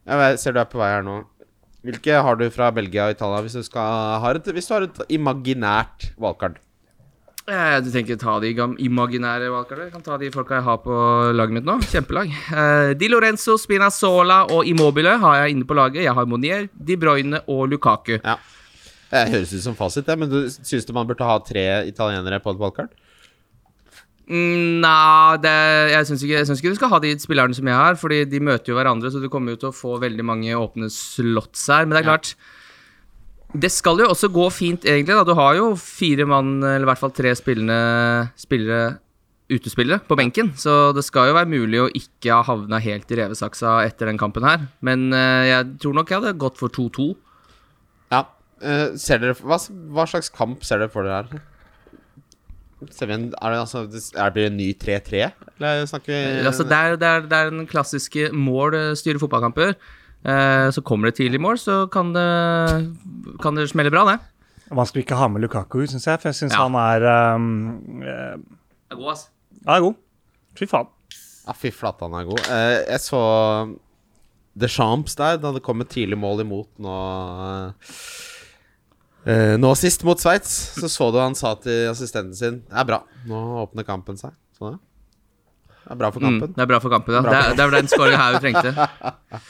Speaker 2: jeg vet- ser du er på vei her nå. Hvilke har du fra Belgia og Italia hvis du, skal, har, et, hvis du har et imaginært valgkart?
Speaker 3: Eh, Du tenker ta de gam- imaginære valgkartene? Jeg Kan ta de folka jeg har på laget mitt nå. Kjempelag. Eh, Di Lorenzo, Spinazzola og Immobile har jeg inne på laget. Jeg har Monier, De Bruyne og Lukaku.
Speaker 2: Ja. Det Eh, høres ut som fasit, det, men du syns du man burde ha tre italienere på et valgkart?
Speaker 3: Mm, Nei, det, jeg syns ikke, jeg synes ikke du skal ha de spillerne som jeg har, fordi de møter jo hverandre, så du kommer jo til å få veldig mange åpne slots her, men det er klart Det skal jo også gå fint, egentlig. da Du har jo fire mann, eller i hvert fall tre spillende spillere utespillere på benken, så det skal jo være mulig å ikke ha havna helt i revesaksa etter den kampen her, men eh, jeg tror nok jeg hadde gått for 2-2.
Speaker 2: Ja. Eh, ser dere, hva, hva slags kamp ser dere for dere her? Ser vi en, er det, altså, er det blir det en ny 3-3? Eller snakker vi
Speaker 3: Altså, det, er, det, er, det er den klassiske mål eh, styrer fotballkamper. Eh, så kommer det tidlig mål, så kan det, kan det smelle bra, det.
Speaker 4: Vanskelig å ikke ha med Lukaku, syns jeg. For jeg syns
Speaker 3: Ja.
Speaker 4: han er um, eh,
Speaker 3: Det er god, ass.
Speaker 4: Han er god. Fy faen.
Speaker 2: Ja, Ah, fy flate, han er god. Eh, jeg så Deschamps der. Da det kom et tidlig mål imot nå eh, Nå sist, mot Sveits, så så du han sa til assistenten sin Det er bra, nå åpner kampen seg. Så det. det er bra for
Speaker 3: Mm,
Speaker 2: kampen.
Speaker 3: det er bra for kampen, ja.
Speaker 2: Bra
Speaker 3: Det er, det er den skåringa her vi trengte.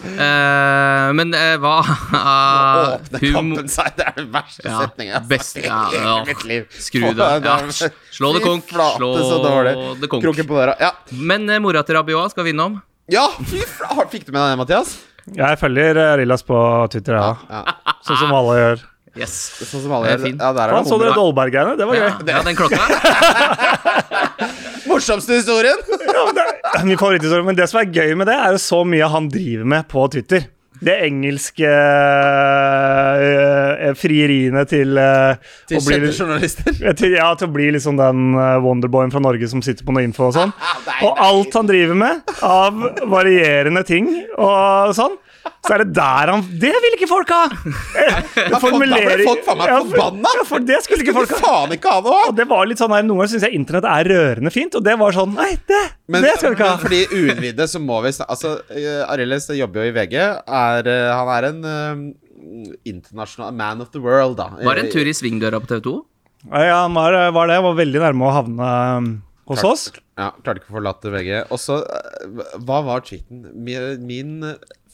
Speaker 3: Eh, men eh, hva
Speaker 2: Nå
Speaker 3: uh,
Speaker 2: åpner kampen seg! Det er den verste
Speaker 3: Ja,
Speaker 2: setningen jeg har
Speaker 3: best-
Speaker 2: sagt i
Speaker 3: ja,
Speaker 2: hele
Speaker 3: ja.
Speaker 2: mitt liv.
Speaker 3: Skru det av.
Speaker 2: Å,
Speaker 3: Ja.
Speaker 2: det er-
Speaker 3: Slå det
Speaker 2: Fy
Speaker 3: konk.
Speaker 2: flate, så
Speaker 3: Slå
Speaker 2: dårlig.
Speaker 3: det konk.
Speaker 2: Kroken på døra. Ja,
Speaker 3: Men eh, mora til Rabiot skal vinne om.
Speaker 2: ja fy flate! Fikk du med deg det, Mathias?
Speaker 4: Jeg følger eh, Rillas på Twitter, ja. Sånn som alle gjør.
Speaker 3: Yes.
Speaker 2: Sånn som alle
Speaker 3: Det er fin.
Speaker 2: Ja, der er
Speaker 4: Faen,
Speaker 2: det
Speaker 4: så dere
Speaker 2: humor.
Speaker 4: Dolberg-greiene? Det var gøy.
Speaker 3: Ja, ja, den klokka.
Speaker 2: Morsomste historien!
Speaker 4: Ja, men det er min favoritthistorie. Men det som er gøy med det, er jo så mye han driver med på Twitter. Det engelske eh, frieriene til, eh,
Speaker 2: Til
Speaker 4: å bli,
Speaker 2: kjente journalister.
Speaker 4: til, ja, til å bli liksom den eh, wonderboyen fra Norge som sitter på noe info og sånn.
Speaker 2: Ah,
Speaker 4: Og alt han driver med av varierende ting og sånn, så er det der han Det vil ikke folk ha!
Speaker 2: Da folk- da ble
Speaker 4: Formulering-
Speaker 2: folk faen meg
Speaker 4: Ja, for-
Speaker 2: forbanna!
Speaker 4: Ja, for det skulle ikke folk ha.
Speaker 2: faen ikke ha noe!
Speaker 4: Og det var litt sånn her, Noen ganger syns jeg internett er rørende fint, og det var sånn Nei, det,
Speaker 2: Men,
Speaker 4: det skal vi ikke
Speaker 2: men
Speaker 4: ha.
Speaker 2: fordi uinnvidde, så må vi snakke Altså, eh, Arelis jobber jo i VG. Er, eh, han er en eh, internasjonal man of the world, da.
Speaker 3: Var det en tur i svingdøra på TV 2?
Speaker 4: Ja, Ja, han var, var det. Var veldig nærme å havne um, hos
Speaker 2: Klart.
Speaker 4: oss.
Speaker 2: Ja, klarte ikke å forlate VG. Og så, eh, hva var cheaten? Min, min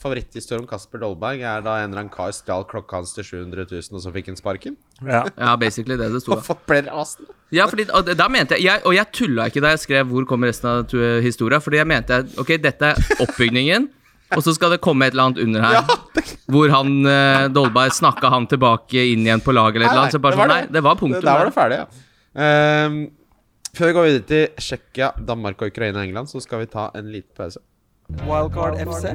Speaker 2: favoritthistorie om Kasper Dolberg er da en eller annen kar stjal klokka hans til 700 000, og så fikk han sparken.
Speaker 4: Ja.
Speaker 3: Ja, basically det det sto. ja.
Speaker 2: Hvorfor ble det rasen?
Speaker 3: Ja, fordi, og da mente jeg, jeg Og jeg tulla ikke da jeg skrev 'Hvor kommer resten av tu- historia?' Fordi jeg mente at, ok, dette er oppbygningen, og så skal det komme et eller annet under her. Hvor han eh, Dolberg snakka han tilbake inn igjen på laget eller et eller annet. Så bare sånn, nei, det var
Speaker 2: Der
Speaker 3: punktum.
Speaker 2: var det
Speaker 3: der.
Speaker 2: ferdig, ja. Ehm, før vi går videre til Tsjekkia, Danmark, og Ukraina og England, så skal vi ta en liten pause.
Speaker 1: Wildcard FC.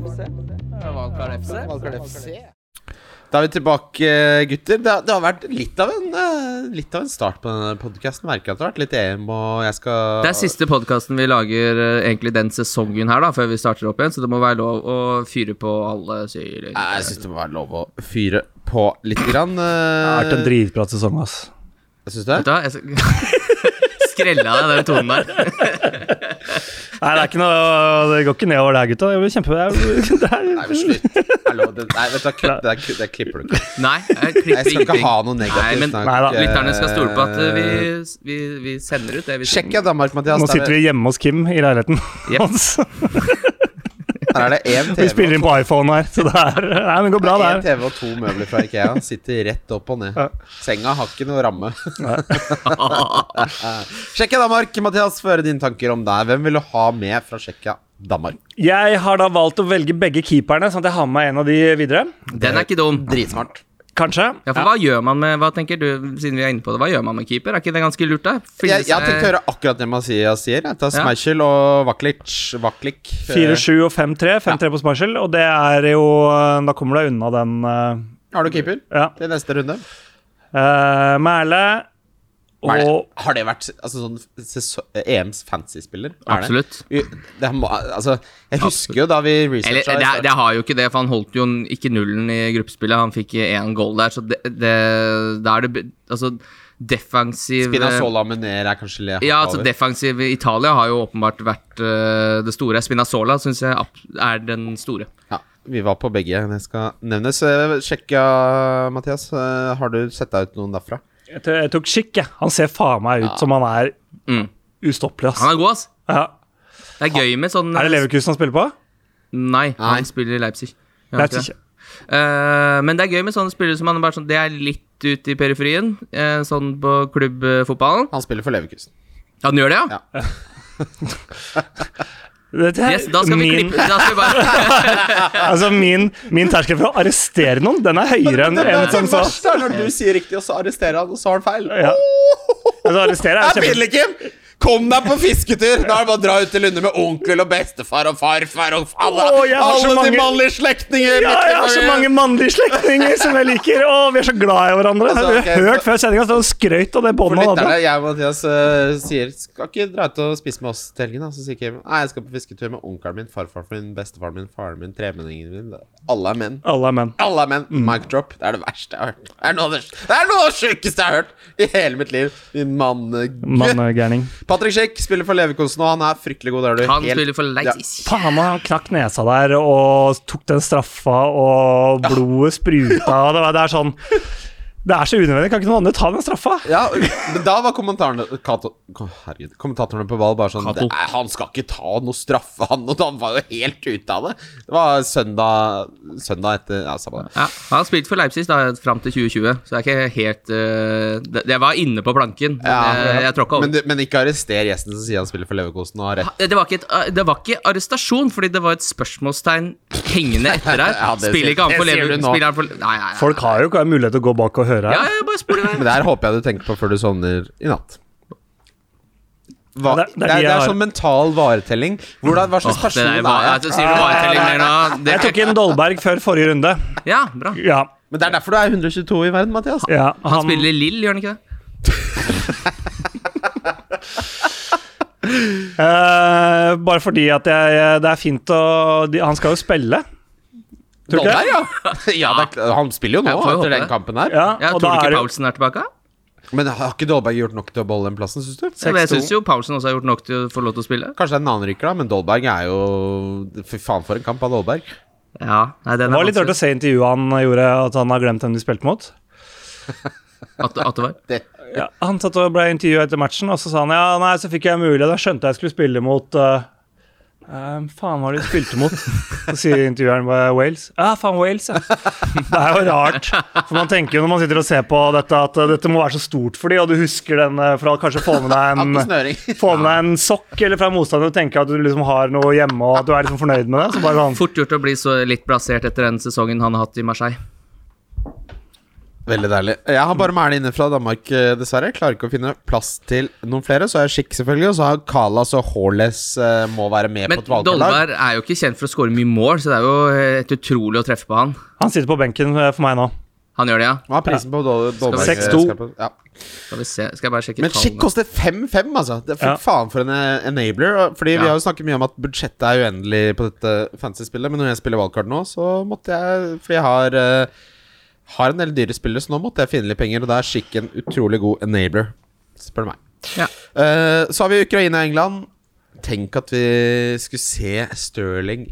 Speaker 2: Da er vi tilbake, eh, gutter. Det, har- det har vært litt av, en, eh, litt av en start på denne podkasten. Merker at det har vært litt EM, og jeg skal
Speaker 3: Det er siste podkasten vi lager eh, egentlig den sesongen her, da, før vi starter opp igjen, så det må være lov å fyre på alle syrer.
Speaker 2: Nei, Jeg syns det må være lov å fyre på litt. Grann.
Speaker 4: Det har vært en
Speaker 2: eh,
Speaker 4: dritbra sesong, ass.
Speaker 2: Syns du det?
Speaker 3: Vet du hva, jeg skal... Skrella deg den tonen der.
Speaker 4: Nei, det er ikke noe Det går ikke nedover der, gutta. Det blir kjempe... Det er,
Speaker 2: Nei, men slutt. Hallo, det, nei, vet du, hva, kutt, det, der kutt, det klipper du ikke.
Speaker 3: Nei, jeg
Speaker 2: Jeg
Speaker 3: klipper
Speaker 2: skal ikke
Speaker 3: ingenting.
Speaker 2: ha noe
Speaker 3: Nei,
Speaker 2: negativt.
Speaker 3: men
Speaker 2: snakk.
Speaker 4: Nei da.
Speaker 2: Eh,
Speaker 3: Lytterne skal stole på at eh, vi, vi, vi sender ut det. Vi
Speaker 2: Tsjekkia, Danmark, Mathias.
Speaker 4: nå
Speaker 2: Der
Speaker 4: sitter
Speaker 2: er-
Speaker 4: vi hjemme hos Kim i leiligheten
Speaker 3: Jep.
Speaker 4: hans.
Speaker 2: der er det én
Speaker 4: Vi
Speaker 2: TV
Speaker 4: spiller inn på iPhone her, så det er Nei, men det går bra, det
Speaker 2: En
Speaker 4: her.
Speaker 2: TV og to møbler fra Ikea sitter rett opp og ned.
Speaker 4: Ja.
Speaker 2: Senga har ikke noe ramme. Tsjekkia, Danmark. Mathias, få høre dine tanker om deg. Hvem vil du ha med fra Tsjekkia, Danmark?
Speaker 4: Jeg har da valgt å velge begge keeperne, sånn at jeg har med meg en av de videre.
Speaker 3: Den er ikke dum.
Speaker 2: Dritsmart.
Speaker 4: Kanskje.
Speaker 3: Ja, for Hva gjør man med Hva tenker du, siden vi er inne på det Hva gjør man med keeper? Er ikke det ganske lurt, da? Fylle
Speaker 2: Jeg, jeg har tenkt å
Speaker 3: seg-
Speaker 2: høre akkurat det Mathias sier. Jeg tar
Speaker 3: Ja.
Speaker 2: Schmeichel og Vaklic. eh. Vaklik.
Speaker 4: 4-7 og 5-3. 5-3 på Smarshall, og det er jo Da kommer du deg unna den eh,
Speaker 2: Har du keeper
Speaker 4: Ja.
Speaker 2: til neste runde?
Speaker 4: Eh, Merle og
Speaker 2: Merle. Har det vært altså, sånn seso- EMs fancy-spiller? Er det?
Speaker 3: Absolutt.
Speaker 2: U- Det må, altså, jeg husker jo da vi
Speaker 3: Eller,
Speaker 2: researcha
Speaker 3: det, er- det har jo ikke det, for han holdt jo n- ikke nullen i gruppespillet. Han fikk én goal der, så det, det Da er det be- Altså, defensiv
Speaker 2: Spinazzola og Mener er kanskje le-
Speaker 3: Ja, altså
Speaker 2: over.
Speaker 3: defensiv Italia har jo åpenbart vært eh, det store. Spinazzola syns jeg ab- er den store.
Speaker 2: Ja, vi var på begge. Det skal nevnes. Eh, Sjekka, Mathias. eh, Har du sett deg ut noen derfra?
Speaker 4: Jeg t- jeg tok skikk, jeg. Han ser faen meg ut som han er
Speaker 3: Mm.
Speaker 4: ustoppelig,
Speaker 3: Han
Speaker 4: ass.
Speaker 3: er god, ass.
Speaker 4: Ja.
Speaker 3: Det er gøy med sånn
Speaker 4: Er det Leverkusen han spiller på?
Speaker 3: Nei,
Speaker 2: Nei.
Speaker 3: han spiller i Leipzig. Ja,
Speaker 4: Leipzig.
Speaker 3: ikke det. Eh, men det er gøy med sånne spillere som han er bare sånn Det er litt ute i periferien, eh, sånn på klubbfotballen.
Speaker 2: Han spiller for Leverkusen.
Speaker 3: Ja, han gjør det, ja?
Speaker 2: Ja.
Speaker 4: Dette er
Speaker 3: Yes, da skal vi
Speaker 4: min,
Speaker 3: klippe da skal vi bare,
Speaker 4: altså min, min terskel for å arrestere noen, den er høyere enn en som sa
Speaker 2: er når du sier riktig, og så arresterer han, og så har han feil.
Speaker 4: Ja. Altså, arrestere er
Speaker 2: Det er
Speaker 4: kjempe...
Speaker 2: pinlig, Kim! Kom deg på fisketur! Da er det bare å dra ut til Lunde med onkel og bestefar og farfar og alle,
Speaker 4: Å, jeg har så
Speaker 2: alle
Speaker 4: mange-
Speaker 2: de mannlige slektninger!
Speaker 4: Ja, jeg har så mange mannlige slektninger som jeg liker. Å, vi er så glad i hverandre. Har
Speaker 2: Altså,
Speaker 4: dere
Speaker 2: ok,
Speaker 4: hørt
Speaker 2: så-
Speaker 4: før sendinga at han skrøt av det
Speaker 2: For
Speaker 4: båndet han
Speaker 2: lytterne,
Speaker 4: hadde?
Speaker 2: jeg og Mathias eh, sier Skal ikke dra ut og spise med oss til helgen, da? Så sier Kim Nei, jeg skal på fisketur med onkelen min, farfaren min, bestefaren min, faren min, tremenningen min. Alle er menn.
Speaker 4: Alle er menn.
Speaker 2: Alle er menn.
Speaker 4: Mm.
Speaker 2: Mic drop. Det er det verste jeg har hørt. Det er noe av det, det, er noe av det sjukeste jeg har hørt i hele mitt liv. Din mannegutt.
Speaker 4: Mannegærning.
Speaker 2: Patrick Schick spiller for Leverkosten, og han er fryktelig god. Det er du
Speaker 3: Han
Speaker 2: helt-
Speaker 3: spiller for
Speaker 2: Ja.
Speaker 3: Leipzig.
Speaker 4: Faen, han knakk nesa der og tok den straffa, og blodet spruta. Og det, var, det er sånn Det er så unødvendig. Kan ikke noen andre ta den straffa?
Speaker 2: Ja, men da var kommentarene Kato, Å, Herregud, kommentatorene på ball bare sånn
Speaker 3: Kato.
Speaker 2: det, er- Han skal ikke ta noe straffe, han Og han var jo helt ute av det Det var søndag Søndag etter Ja, samme det
Speaker 3: Ja, han spilte for Leipzig da, fram til 2020, så jeg er ikke helt eh, det- Jeg var inne på planken, men jeg, jeg tråkka over.
Speaker 2: men, du- men ikke arrester gjesten som sier han spiller for Leverkosten Og har rett
Speaker 3: Eh, det var, ikke et, det var ikke arrestasjon, fordi det var et spørsmålstegn hengende etter her.
Speaker 2: Ja, det sier-
Speaker 3: Spiller ikke han
Speaker 2: det
Speaker 3: for
Speaker 2: sier
Speaker 3: Leverkusen?
Speaker 2: du nå.
Speaker 3: Spiller han for Nei, nei, nei.
Speaker 4: Folk har jo ikke mulighet til å gå bak og høre.
Speaker 3: Ja, ja, bare spol i vei.
Speaker 2: Men det her håper jeg du tenker på før du sovner i natt hva,
Speaker 4: Ja,
Speaker 2: det, er,
Speaker 4: det- det er
Speaker 2: det,
Speaker 4: de
Speaker 2: er,
Speaker 4: jeg har.
Speaker 2: sånn mental varetelling Hvordan, Hva
Speaker 3: Åh,
Speaker 2: slags
Speaker 3: det
Speaker 2: person
Speaker 3: der
Speaker 2: er
Speaker 3: var,
Speaker 2: jeg?
Speaker 3: jeg sier du bare telling mer nå. Det-
Speaker 4: Jeg tok inn Dolberg før forrige runde.
Speaker 3: Ja, bra.
Speaker 4: Ja.
Speaker 2: Men det er derfor du er 122 i verden, Mathias
Speaker 4: ja
Speaker 3: Han spiller Lill, gjør han ikke det?
Speaker 4: Eh, bare fordi at jeg, eh, det er fint å de, Han skal jo spille. Tror du ikke
Speaker 2: Dolberg,
Speaker 4: det?
Speaker 2: ja, ja det er, kl- Han spiller jo nå
Speaker 3: Jeg får jo
Speaker 2: etter
Speaker 3: håpe
Speaker 2: den
Speaker 3: det.
Speaker 2: kampen her
Speaker 4: Ja,
Speaker 3: Ja,
Speaker 4: og
Speaker 3: tror du
Speaker 4: da
Speaker 3: ikke
Speaker 4: er det,
Speaker 3: Paulsen er tilbake?
Speaker 2: Men har ikke Dolberg gjort nok til å beholde den plassen, synes du?
Speaker 3: Ja, men jeg
Speaker 4: 6-2.
Speaker 3: syns jo Paulsen også har gjort nok til å få lov til å spille.
Speaker 2: Kanskje det er en annen rykker, da, men Dolberg er jo Fy faen, for en kamp av Dolberg.
Speaker 3: Ja, nei, den
Speaker 4: det var
Speaker 3: er
Speaker 4: litt rart å
Speaker 3: vanskelig.
Speaker 4: se intervjuet han gjorde, at han har glemt hvem de spilte mot.
Speaker 3: At, at det var.
Speaker 4: Ja, han satt og ble intervjua etter matchen, og så sa han ja, nei, så fikk jeg mulighet, da skjønte jeg skulle spille mot eh, eh, faen, hva var det de spilte mot? Så sier intervjueren bare Wales. Ja, faen, Wales, ja. Det er jo rart. For man tenker jo når man sitter og ser på dette, at eh, dette må være så stort for de, og du husker den eh, fra kanskje få med deg en
Speaker 3: Mm.
Speaker 2: Atten snøring.
Speaker 4: Få med deg en sokk eller fra motstander og tenke at du liksom har noe hjemme og at du er liksom fornøyd med det. Så bare sånn,
Speaker 3: Fort gjort å bli så litt plassert etter den sesongen han har hatt i Marseille.
Speaker 2: Veldig deilig. Jeg har bare Mæle inne fra Danmark, eh, dessverre. Jeg Klarer ikke å finne plass til noen flere. Så er Schick selvfølgelig, og så har Kalas og Haales eh, må være med
Speaker 3: Men
Speaker 2: på et valgkarlag.
Speaker 3: Dolberg er jo ikke kjent for å skåre mye mål, så det er jo helt utrolig å treffe på han.
Speaker 4: han sitter på benken eh, for meg nå.
Speaker 3: Han gjør det, ja.
Speaker 2: Hva er prisen på Dol Dolberg?
Speaker 4: 6-2.
Speaker 2: eh, skal på- Ja.
Speaker 3: Skal, vi se. Skal jeg bare sjekke
Speaker 2: Men Schick
Speaker 3: tallene.
Speaker 2: koster 5-5, altså. Det er for
Speaker 4: Ja.
Speaker 2: faen for en eh, enabler. og- Fordi vi
Speaker 3: Ja.
Speaker 2: har jo snakket mye om at budsjettet er uendelig på dette fantasy-spillet, men når jeg spiller wildcard nå, så måtte jeg Fordi jeg har eh, Har en del dyre spillere, så nå måtte jeg finne litt penger, og da er Schick en utrolig god enabler, spør du meg.
Speaker 3: Ja.
Speaker 2: Eh, så har vi Ukraina og England. Tenk at vi skulle se Stirling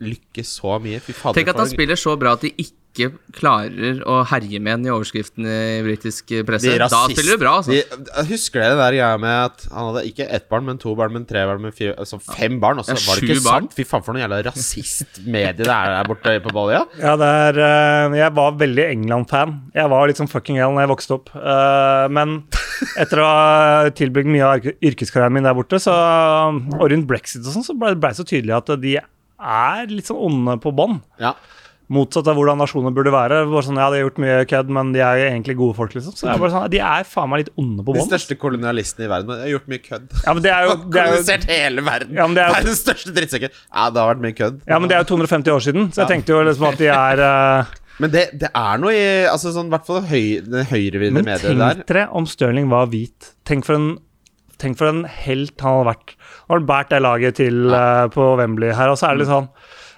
Speaker 2: lykkes så mye. Fy fader.
Speaker 3: Tenk at han
Speaker 2: for en-
Speaker 3: spiller så bra at de ikke klarer å herje med han i overskriften i britisk presse.
Speaker 2: De
Speaker 3: Da
Speaker 2: rasist-
Speaker 3: spiller du bra, altså.
Speaker 2: de- husker dere det der greia med at han hadde ikke ett barn, men to barn, men tre barn, men fire Altså fem barn, og så
Speaker 3: Ja,
Speaker 2: var det ikke
Speaker 3: sju barn.
Speaker 2: sant? Fy faen, for noe jævla rasistmedie det er der borte på Balja.
Speaker 4: Ja, det er, eh, jeg var veldig England-fan. Jeg var liksom fucking England da jeg vokste opp. Eh, men etter å ha tilbrukt mye av yrke- yrkeskarrieren min der borte, så, og rundt brexit og sånn, så ble ble det så tydelig at de er litt sånn onde på bånn.
Speaker 2: Ja.
Speaker 4: Motsatt av hvordan nasjoner burde være. Bare sånn, ja, De har gjort mye kødd, men de er jo egentlig gode folk, liksom. Så jeg er bare sånn, De er faen meg litt onde på
Speaker 2: De
Speaker 4: bånn.
Speaker 2: største kolonialistene i verden. men De har gjort mye kødd.
Speaker 4: Ja, men det er jo, det er jo
Speaker 2: Kolonisert hele verden.
Speaker 4: Ja, men det er jo-
Speaker 2: Verdens største drittsekker. Ja, det har vært mye kødd.
Speaker 4: Ja, men det er jo 250 år siden, så jeg tenkte jo liksom at de er eh,
Speaker 2: Men det, det er noe i altså sånn, hvert fall høy, det høyrevridde
Speaker 4: Men
Speaker 2: mediet der.
Speaker 4: tenk dere om Stirling var hvit. Tenk for en, tenk
Speaker 2: Mm.
Speaker 4: for en helt han hadde vært. Han har båret det laget til eh, på Wembley her, og så er det litt sånn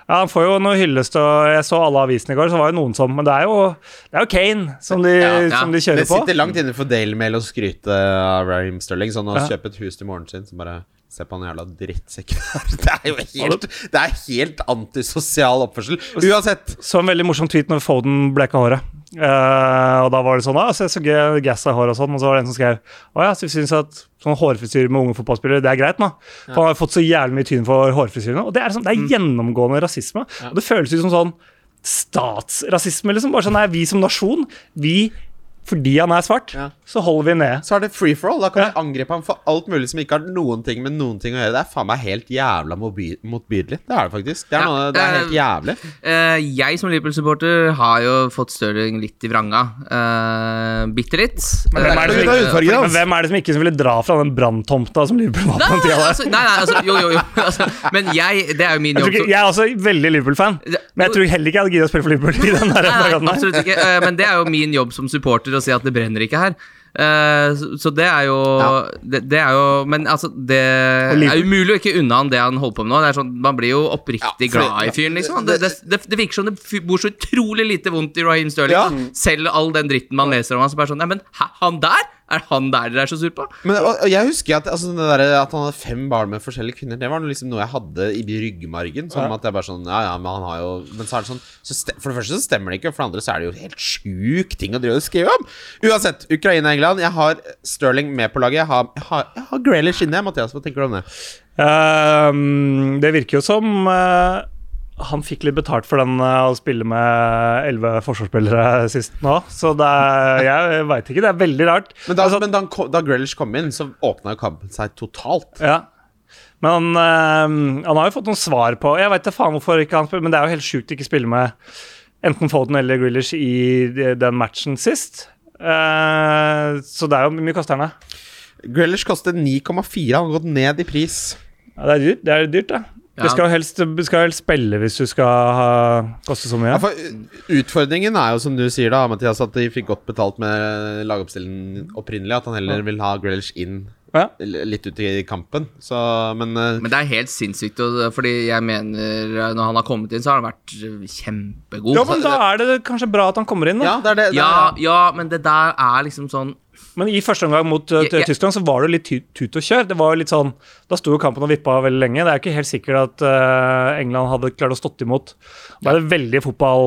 Speaker 4: Ja, Han får jo noe hyllest, og jeg så alle avisene i går, så var det noen som Men det er jo, det er jo Kane som de,
Speaker 2: Ja,
Speaker 3: ja.
Speaker 4: Som de
Speaker 2: Det
Speaker 4: kjører på.
Speaker 2: sitter langt inne for Daily Mail å skryte av Raheem Sterling. Sånn å
Speaker 4: Ja.
Speaker 2: kjøpe et hus til moren sin, så bare Se på han jævla drittsekken her. Det er jo helt, det er helt antisosial oppførsel. Uansett.
Speaker 4: Så en veldig morsom tweet når Foden bleka håret. Eh, og da var det sånn, ah, så jeg så gøy, gassa håret og sånn, og så var det en som skrev Å ja, så vi syns at sånn hårfrisyre med unge fotballspillere, det er greit nå. For han har fått så jævlig mye tyn for hårfrisyrene. Og det er, sånn, det er gjennomgående rasisme. Og det føles ut som sånn statsrasisme, liksom. Bare sånn, nei, vi som nasjon, vi fordi han er svart,
Speaker 2: Ja.
Speaker 4: så holder vi ned.
Speaker 2: Så er det free for all. Da kan
Speaker 4: Ja.
Speaker 2: vi angripe ham for alt mulig som ikke har noen ting med noen ting å gjøre. Det er faen meg helt jævla mobi- motbydelig. Det er det faktisk. Det er,
Speaker 3: Ja,
Speaker 2: noe, det er helt jævlig.
Speaker 3: Eh, jeg som Liverpool-supporter har jo fått Stirling litt i vranga. Uh, Bitte litt. Eh,
Speaker 4: Men hvem er det som
Speaker 2: er utfarget,
Speaker 4: Men hvem er det som ikke ville dra fra den branntomta som Liverpool var på den
Speaker 3: Nei,
Speaker 4: tida der?
Speaker 3: altså, nei, nei, altså, jo, jo, jo. Altså, men jeg Det er jo min
Speaker 4: Jeg, tror
Speaker 3: jobb.
Speaker 4: ikke, jeg er også veldig Liverpool-fan,
Speaker 3: Ja,
Speaker 4: men jeg tror heller ikke jeg hadde giddet å spille for Liverpool i den der
Speaker 3: Nei,
Speaker 4: perioden her.
Speaker 3: absolutt ikke. Eh, Men det er jo min jobb som supporter å si at det brenner ikke her. Eh, Så så det er jo
Speaker 2: Ja.
Speaker 3: det, det er jo Men altså, det
Speaker 4: Og
Speaker 3: er
Speaker 4: Liverpool-
Speaker 3: umulig å ikke unne han det han holder på med nå. Det er sånn, Man blir jo oppriktig
Speaker 2: Ja, for-
Speaker 3: glad i fyren, liksom. Det, det, det, det virker som det fy- bor så utrolig lite vondt i Raheem Sterling.
Speaker 2: Ja.
Speaker 3: Selv all den dritten man leser om han, så bare sånn Nei, men hæ, han der? Er han der dere er så sur på?
Speaker 2: Men og, og jeg husker at, altså, det der, at han hadde fem barn med forskjellige kvinner, det var noe liksom noe jeg hadde i ryggmargen. Som at jeg bare sånn Ja, ja, men han har jo Men så er det sånn så ste, For det første så stemmer det ikke, og for det andre så er det jo helt sjuk ting å drive og skrive om. Uansett, Ukraina-England. Jeg har Sterling med på laget. Jeg har, jeg har, jeg har Grealish inne. Mathias, hva tenker du om det?
Speaker 4: Ehm, det virker jo som eh, han fikk litt betalt for den eh, å spille med elleve forsvarsspillere sist nå, så det er, jeg veit ikke. Det er veldig rart.
Speaker 2: Men da,
Speaker 4: Altså,
Speaker 2: men da, han ko- da Grealish kom inn, så åpna jo kampen seg totalt.
Speaker 4: ja. Men han, eh, han har jo fått noen svar på Jeg veit da faen hvorfor ikke han spiller, men det er jo helt sjukt å ikke spille med enten Foden eller Grealish i de- den matchen sist. Eh, så det er jo hvor mye koster han, da?
Speaker 2: Grealish koster 9,4. Han har gått ned i pris.
Speaker 4: Ja, det er dyrt, det er dyrt da.
Speaker 3: Ja.
Speaker 4: Det skal jo helst, du skal jo helst spille hvis du skal ha, koste så mye.
Speaker 2: Ja, for u- Utfordringen er jo, som du sier, da, Mathias, at de fikk godt betalt med lagoppstillingen opprinnelig. At han heller vil ha Grealish inn
Speaker 4: Ja.
Speaker 2: l- litt ut i kampen. Så, men eh,
Speaker 3: Men det er helt sinnssykt, og- fordi jeg mener eh, når han har kommet inn, så har han vært eh, kjempegod.
Speaker 4: ja, men da er det kanskje bra at han kommer inn.
Speaker 2: Ja,
Speaker 4: Da.
Speaker 2: det er det. det
Speaker 3: ja,
Speaker 2: er,
Speaker 3: ja, men det der er liksom sånn
Speaker 4: Men i første omgang mot uh,
Speaker 3: Jeg- jeg-
Speaker 4: Tyskland så var det jo litt ty- tut og kjør. Det var jo litt sånn, Da sto jo kampen og vippa veldig lenge. Det er ikke helt sikkert at uh, England hadde klart å stått imot. Da er det veldig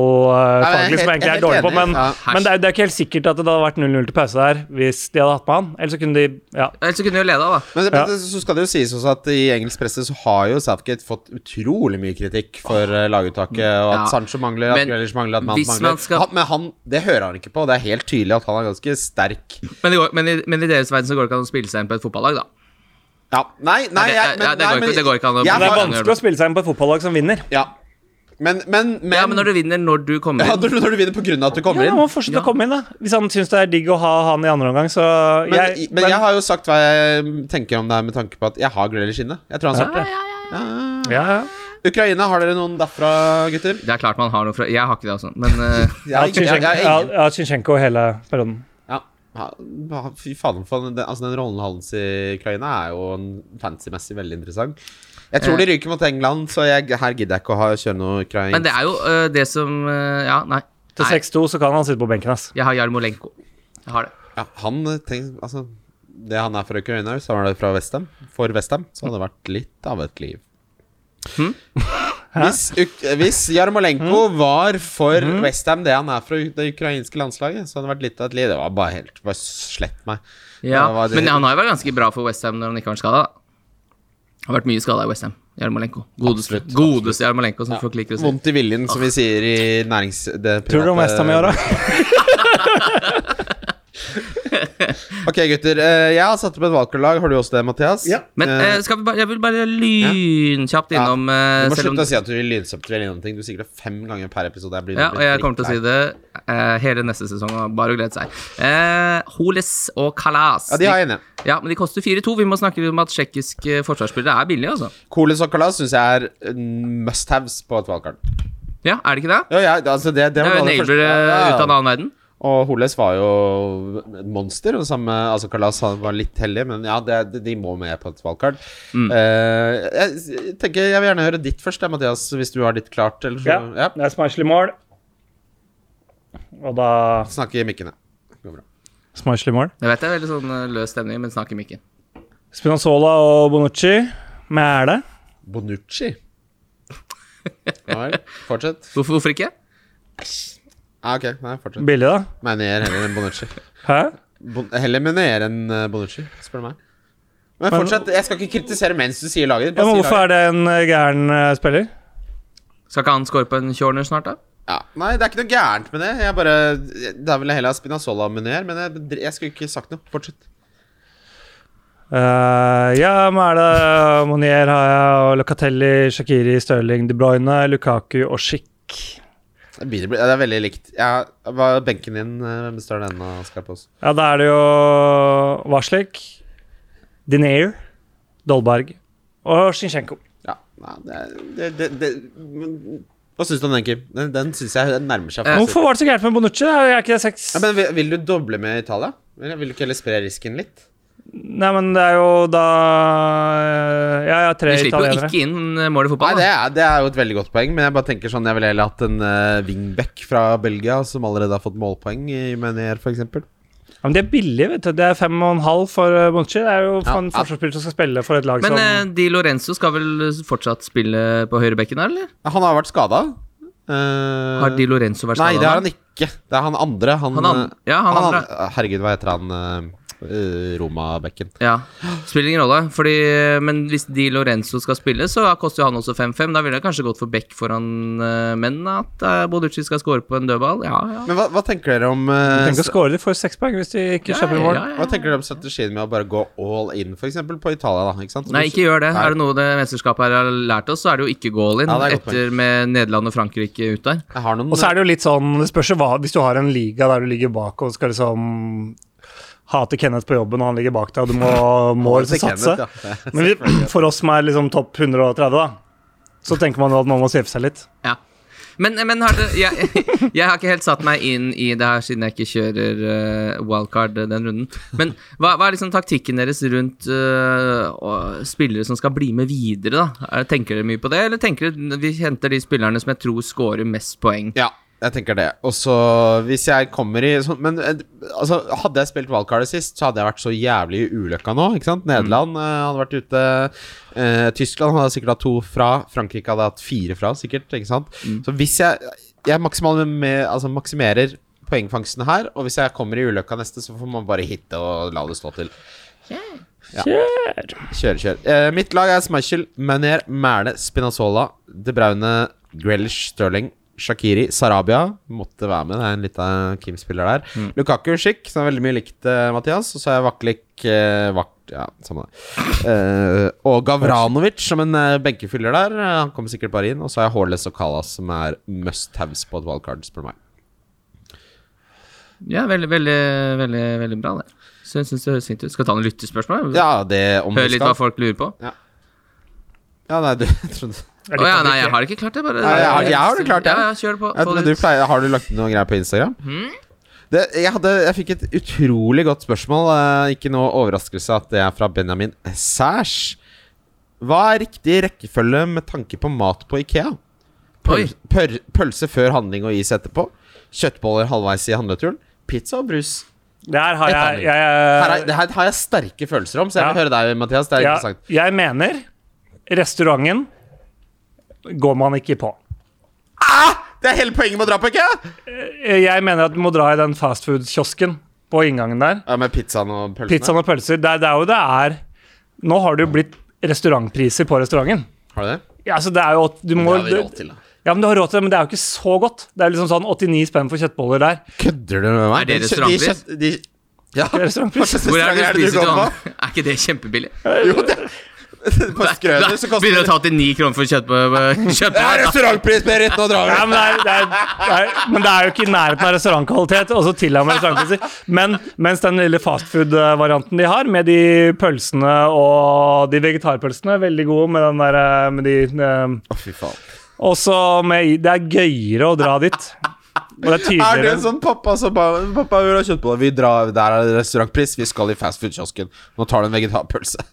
Speaker 2: Ja, jeg er
Speaker 4: fotballfaglig,
Speaker 2: helt-
Speaker 4: som jeg egentlig
Speaker 2: jeg er
Speaker 4: er dårlig
Speaker 2: helt
Speaker 4: på. Men,
Speaker 2: enig. Ja,
Speaker 4: men det, er, det er ikke helt sikkert at det hadde vært 0-0 til pause der hvis de hadde hatt med han. Ellers så kunne de Ja.
Speaker 3: Ellers så kunne de jo leda, da.
Speaker 2: Men det,
Speaker 4: Ja.
Speaker 2: men det- så skal det jo sies også at i engelsk presse så har jo Southgate fått utrolig mye kritikk for eh, laguttaket, og at
Speaker 3: Ja.
Speaker 2: Sancho mangler, at
Speaker 3: Men
Speaker 2: Grealish mangler, at Mount
Speaker 3: hvis man
Speaker 2: mangler.
Speaker 3: skal-
Speaker 2: Han, men han, det hører han ikke på. Det er helt tydelig at han er ganske sterk.
Speaker 3: Men, det går, men, i, men i deres verden så går det ikke an å spille seg inn på et fotballag, da.
Speaker 2: Ja, nei, nei,
Speaker 3: det-
Speaker 2: jeg,
Speaker 3: ja, det går
Speaker 2: nei,
Speaker 3: ikke- det går ikke an å-
Speaker 2: jeg
Speaker 4: Det er
Speaker 2: har-
Speaker 3: vanskelig
Speaker 4: vanskelig å spille seg inn på et fotballag som vinner.
Speaker 2: Ja. Men, men, men
Speaker 3: ja, men når du vinner når du kommer
Speaker 2: Ja,
Speaker 3: inn
Speaker 2: når, du- når du vinner på grunn av at du kommer
Speaker 4: Ja,
Speaker 2: inn.
Speaker 4: han må fortsette å
Speaker 3: Ja.
Speaker 4: komme inn, da. Hvis han syns det er digg å ha han i andre omgang, så
Speaker 2: Men,
Speaker 4: jeg,
Speaker 2: men jeg har jo sagt hva jeg tenker om det her med tanke på at jeg har Grealish inne. Jeg tror han svarte. Ja.
Speaker 4: ja, ja.
Speaker 2: Ukraina, har dere noen derfra, gutter?
Speaker 3: Det er klart man har noe fra Jeg har ikke det, altså. Men eh,
Speaker 2: Jeg
Speaker 4: Jeg
Speaker 2: har
Speaker 4: har
Speaker 2: ingen- jeg-
Speaker 4: Zinchenko-
Speaker 2: jeg
Speaker 4: jeg
Speaker 2: har ingen.
Speaker 4: har- jeg har Zinchenko hele perioden.
Speaker 2: Ja. Ja, Fy fader, for den, altså den rollen hans i Ukraina er jo en fancy-messig veldig interessant. Jeg tror de ryker mot England, så jeg, her gidder jeg ikke å ha, kjøre noe ukrainsk.
Speaker 3: men det er jo eh, det som eh, Ja, nei.
Speaker 4: Til
Speaker 3: nei.
Speaker 4: 6-2 så kan han sitte på benken, ass.
Speaker 3: Jeg har Jarmolenko. Jeg har det.
Speaker 2: Ja, han eh, tenk, altså, Det han er fra Ukraina, hvis han var det fra Vestham, for Vestham, så hadde det vært litt av et liv.
Speaker 3: Hm?
Speaker 2: Hvis, Uk hvis Jarmolenko var for
Speaker 3: Hm?
Speaker 2: Westham det han er fra u- det ukrainske landslaget, så hadde det vært litt av et liv. Det var bare helt Bare slett meg.
Speaker 3: Ja,
Speaker 2: Det var det-
Speaker 3: men han har jo vært ganske bra for Westham når han ikke har vært skada. Har vært mye skada i Westham. Jarmolenko. Godeste
Speaker 2: Absolutt,
Speaker 3: godeste Jarmolenko, som folk liker å si. Ah.
Speaker 2: Vondt i viljen, som vi sier i nærings... Det
Speaker 4: Tror du om
Speaker 2: private-
Speaker 4: Westham i år, da?
Speaker 2: eh, Ok, gutter. eh, Jeg har satt opp et valgkartlag. Har du også det, Mathias?
Speaker 4: Ja.
Speaker 3: Men
Speaker 2: Eh,
Speaker 3: eh, skal vi bare, jeg vil bare lynkjapt
Speaker 2: Ja.
Speaker 3: innom eh,
Speaker 2: du må
Speaker 3: selv om-
Speaker 2: slutte å si at du vil lynsubstituere innom ting. Du sier det fem ganger per episode. Jeg blir,
Speaker 3: Ja, og
Speaker 2: blir
Speaker 3: jeg kommer til å
Speaker 2: drittlei.
Speaker 3: si det eh, hele neste sesong. og Bare å glede seg. Eh, Holes og Kalas.
Speaker 2: Ja, de har jeg enig.
Speaker 3: ja, men de koster 4-2. Vi må snakke om at tsjekkiske forsvarsspillere er billige, altså.
Speaker 2: Kolis og Kalas syns jeg er eh, must-haves på et valgkart.
Speaker 3: Ja, er det ikke det?
Speaker 2: Ja, ja, altså det, det
Speaker 3: Det
Speaker 2: var
Speaker 3: er jo
Speaker 2: noe av det
Speaker 3: neighbor eh,
Speaker 2: første- ja, ja, ja.
Speaker 3: ut av en annen verden.
Speaker 2: Og Holes var jo et monster. Og samme, altså Kalas han var litt heldig, men ja, det, det- de må med på et valgkart.
Speaker 3: Mm.
Speaker 2: Eh, jeg, jeg tenker, jeg vil gjerne høre ditt først, jeg, Mathias, hvis du har ditt klart. Eller så,
Speaker 4: Ja,
Speaker 2: ja.
Speaker 4: det er Smiley mål. Og da
Speaker 2: Snakke i mikkene. Det går bra.
Speaker 4: Smiley mål.
Speaker 3: Jeg vet det er veldig sånn eh, løs stemning, men snakker mikken.
Speaker 4: Spinazzola og Bonucci. Mæle.
Speaker 2: Bonucci. Ja vel. Fortsett.
Speaker 3: Hvorfor, hvorfor ikke?
Speaker 2: Ja, ok. Nei, fortsett.
Speaker 4: Billig, da.
Speaker 2: Menier heller enn Bonucci.
Speaker 4: Hæ?
Speaker 2: Bon heller Menier enn eh, Bonucci, spør du meg. Men
Speaker 4: Men-
Speaker 2: fortsett. Jeg skal ikke kritisere mens du sier laget ditt.
Speaker 4: Ja,
Speaker 2: Bare
Speaker 4: men
Speaker 2: si
Speaker 4: hvorfor
Speaker 2: laget.
Speaker 4: er det en eh, gæren eh, spiller?
Speaker 3: Skal ikke han score på en corner snart, da?
Speaker 2: Ja. Nei, det er ikke noe gærent med det. Jeg bare, Da ville jeg heller ha Spinazzola og Menier, men jeg, jeg skulle ikke sagt noe. Fortsett.
Speaker 4: Eh, ja, Mæle, eh, Monier har jeg, og Locatelli, Shakiri, Stirling, De Bruyne, Lukaku og Schick.
Speaker 2: Det, begynner å bli- det er veldig likt. Ja, hva- benken din, eh, hvem består den av, Skarpaas?
Speaker 4: Ja, da er det jo Varslik, Dinair, Dolberg og Shinshenko.
Speaker 2: Ja, nei, det, er- det, det, det men, Hva syns du om den, Kim? Den, den syns jeg den nærmer seg.
Speaker 3: Eh,
Speaker 2: fasit.
Speaker 4: Hvorfor var det så gærent med Bonucci? Jeg er ikke det seks.
Speaker 2: Ja, men vil, vil du doble med Italia? Eller vil du ikke heller spre risken litt?
Speaker 4: Nei, men det er jo da eh, Ja, jeg har tre
Speaker 3: Vi slipper jo
Speaker 4: italienere.
Speaker 3: ikke inn eh, mål i
Speaker 2: Nei,
Speaker 3: fotball.
Speaker 2: det
Speaker 3: Da.
Speaker 2: er, det er jo et veldig godt poeng, men jeg bare tenker sånn Jeg ville heller hatt en eh, wingback fra Belgia som allerede har fått målpoeng i Menier, f.eks.
Speaker 4: Ja, men de er billige, vet du. Det er fem og en halv for eh, Bonucci. Det er jo
Speaker 2: Ja,
Speaker 4: for en
Speaker 2: ja.
Speaker 4: forsvarsspiller som skal spille for et lag
Speaker 3: Men
Speaker 4: som
Speaker 2: liksom-
Speaker 3: eh, Di Lorenzo skal vel eh, fortsatt spille på høyrebekken der, eller?
Speaker 2: Han har vært skada.
Speaker 3: Har Di Lorenzo vært
Speaker 2: Nei,
Speaker 3: skadet
Speaker 2: det har
Speaker 3: nå?
Speaker 2: han ikke. Det er han andre. Han,
Speaker 3: Han an-
Speaker 2: eh,
Speaker 3: ja, han andre.
Speaker 2: an- Herregud, hva heter han eh, eh, Roma-bekken?
Speaker 3: Ja, spiller ingen rolle. Fordi, men hvis Di Lorenzo skal spille, så koster jo han også 5-5. Da ville jeg kanskje gått for Beck foran eh, menn, at eh, Bonucci skal score på en dødball. Ja, ja.
Speaker 2: Men hva, hva tenker dere om eh,
Speaker 4: Tenk å score, de får seks poeng hvis de ikke
Speaker 3: Ja,
Speaker 4: slipper mål.
Speaker 3: ja, ja.
Speaker 2: Hva tenker dere om strategien med å bare gå all in, f.eks. på Italia? da, ikke sant?
Speaker 3: Nei, ikke gjør det.
Speaker 2: Nei.
Speaker 3: Er det noe det mesterskapet her har lært oss, så er det jo ikke goal in
Speaker 2: Ja, det er godt poeng.
Speaker 3: etter med Nederland og Frankrike ut der.
Speaker 2: Jeg har noen
Speaker 4: Og så er det jo litt sånn Det spørs jo hva Hvis du har en liga der du ligger bak og skal liksom hate Kenneth på jobben, og han ligger bak deg, og du må, må
Speaker 2: Til
Speaker 4: liksom satse.
Speaker 2: Kenneth, ja.
Speaker 4: Men vi, for oss som er liksom topp 130, da, så tenker man jo at man må safe seg litt.
Speaker 3: Ja. Men, men har det, jeg, jeg har ikke helt satt meg inn i det her siden jeg ikke kjører eh, wildcard den runden. Men hva, hva er liksom taktikken deres rundt eh, å- spillere som skal bli med videre? da? Er- Tenker dere mye på det, eller tenker dere vi henter de spillerne som jeg tror scorer mest poeng?
Speaker 2: Ja, jeg tenker det. Og så hvis jeg kommer i sånn Men eh, altså, hadde jeg spilt wildcardet sist, så hadde jeg vært så jævlig i ulykka nå, ikke sant? Nederland eh, hadde vært ute. eh, Tyskland hadde sikkert hatt to fra. Frankrike hadde hatt fire fra, sikkert. Ikke sant? Så hvis jeg Jeg maksimal med, altså, maksimerer poengfangsten her, og hvis jeg kommer i ulykka neste, så får man bare hitte og la det stå til. Kjør, kjør. Eh, mitt lag er Schmeichel, Manier, Mæle, Spinazzola, De Braune, Grealish, Sterling, Shakiri, Sarabia Måtte være med, det er en liten eh, Kim-spiller der.
Speaker 3: Mm.
Speaker 2: Lukaku, Schick, som er veldig mye likt eh, Mathias. Og så er Vaklik eh, Vakt, ja, samme det. Eh, og Gavranovic som en eh, benkefyller der. Eh, han kommer sikkert bare inn. Og så er Hårles og Kalas, som er must haves på et wildcard, spør du meg.
Speaker 3: Ja, veldig, veldig, veldig, veldig bra, det. Så jeg synes det høres fint ut. Skal vi ta noen lyttespørsmål?
Speaker 2: Ja, det om
Speaker 3: Hør
Speaker 2: du
Speaker 3: litt
Speaker 2: skal.
Speaker 3: hva folk lurer på.
Speaker 2: Ja, nei, du jeg trodde
Speaker 4: Jeg
Speaker 3: Å
Speaker 4: liker
Speaker 3: ja,
Speaker 4: det
Speaker 3: nei,
Speaker 4: ikke.
Speaker 3: jeg har ikke klart det. Bare,
Speaker 2: Nei, jeg har- jeg har det klart, jeg.
Speaker 3: ja. Ja, kjør på.
Speaker 2: Jeg
Speaker 3: Få
Speaker 2: trodde
Speaker 3: det
Speaker 2: du
Speaker 3: ut.
Speaker 2: pleier, har du lagt ut noen greier på Instagram?
Speaker 4: Hmm?
Speaker 2: Det, jeg, hadde, jeg fikk et utrolig godt spørsmål. eh, ikke noe overraskelse at det er fra Benjamin Sæsj. Hva er riktig rekkefølge med tanke på mat på Ikea? Pøl,
Speaker 3: Oi.
Speaker 2: pør, pølse før handling og is etterpå. Kjøttboller halvveis i handleturen. Pizza og brus.
Speaker 4: Det her har jeg, jeg,
Speaker 2: Her er, det her har jeg sterke følelser om, så jeg vil
Speaker 4: Ja.
Speaker 2: høre deg, Mathias. Det er
Speaker 4: jeg,
Speaker 2: interessant.
Speaker 4: jeg mener restauranten går man ikke på.
Speaker 2: Ah! Det er hele poenget med å dra på Ikea!
Speaker 4: Jeg mener at du må dra i den fastfood-kiosken på inngangen der.
Speaker 2: Ja, Med pizzaen og pølsene.
Speaker 4: Pizzaen og pølser. Det er, det er jo det er Nå har det jo blitt restaurantpriser på restauranten.
Speaker 2: Har du det?
Speaker 4: Ja, altså det er jo at du
Speaker 2: Det
Speaker 4: må,
Speaker 2: har vi råd til, da.
Speaker 4: Ja, men du har råd til det, men det er jo ikke så godt. Det er liksom sånn 89 spenn for kjøttboller der.
Speaker 2: Kødder du med meg?
Speaker 3: Er
Speaker 2: De kjø-
Speaker 3: det
Speaker 2: de
Speaker 3: restaurantpris?
Speaker 2: kjø- de- Ja.
Speaker 4: er restaurantpris.
Speaker 2: Hva
Speaker 3: Hvor
Speaker 2: slags
Speaker 3: er
Speaker 2: restauranter
Speaker 3: det du spiser
Speaker 2: går
Speaker 3: til
Speaker 2: på?
Speaker 3: han? Er ikke det kjempebillig?
Speaker 2: Jo, det På Skrøner så koster
Speaker 3: Begynner å
Speaker 2: det
Speaker 3: ta til ni kroner for kjøtt på
Speaker 2: Det er restaurantpris, Berit! Nå drar vi!
Speaker 4: Ja, men, det er, det er, det er, men det er jo ikke i nærheten av restaurantkvalitet. Og så til og med restaurantpriser. Men mens den lille fastfood-varianten de har, med de pølsene og de vegetarpølsene, veldig gode med den der eh, med de eh,
Speaker 2: Å, fy faen.
Speaker 4: Og så med i- Det er gøyere å dra dit. Og det er
Speaker 2: Er det
Speaker 4: tydeligere
Speaker 2: en sånn pappa som bare Pappa, vi har kjøtt på deg. Vi drar, der er det restaurantpris. Vi skal i fastfood-kiosken. Nå tar du en vegetarpølse.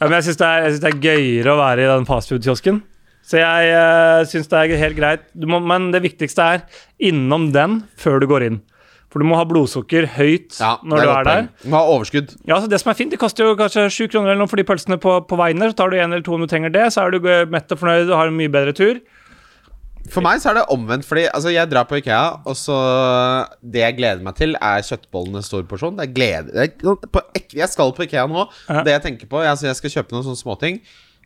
Speaker 4: ja, Men jeg syns det, er- jeg synes det er gøyere å være i den fastfood-kiosken. Så jeg uh, syns det er helt greit. Du må, men det viktigste er innom den før du går inn. For du må ha blodsukker høyt når du er der.
Speaker 2: Må ha overskudd.
Speaker 4: Ja, altså det som er fint, det koster jo kanskje 7 kroner eller noe for de pølsene på, på veien der. Så tar du en eller to om du trenger det, så er du eh, mett og fornøyd og har en mye bedre tur.
Speaker 2: For meg så er det omvendt, fordi altså, jeg drar på Ikea, og så Det jeg gleder meg til, er kjøttbollene stor porsjon. Det er glede, det er, på, ek- jeg skal på Ikea nå.
Speaker 4: Ja.
Speaker 2: Det jeg tenker på jeg, altså, jeg skal kjøpe noen sånne småting.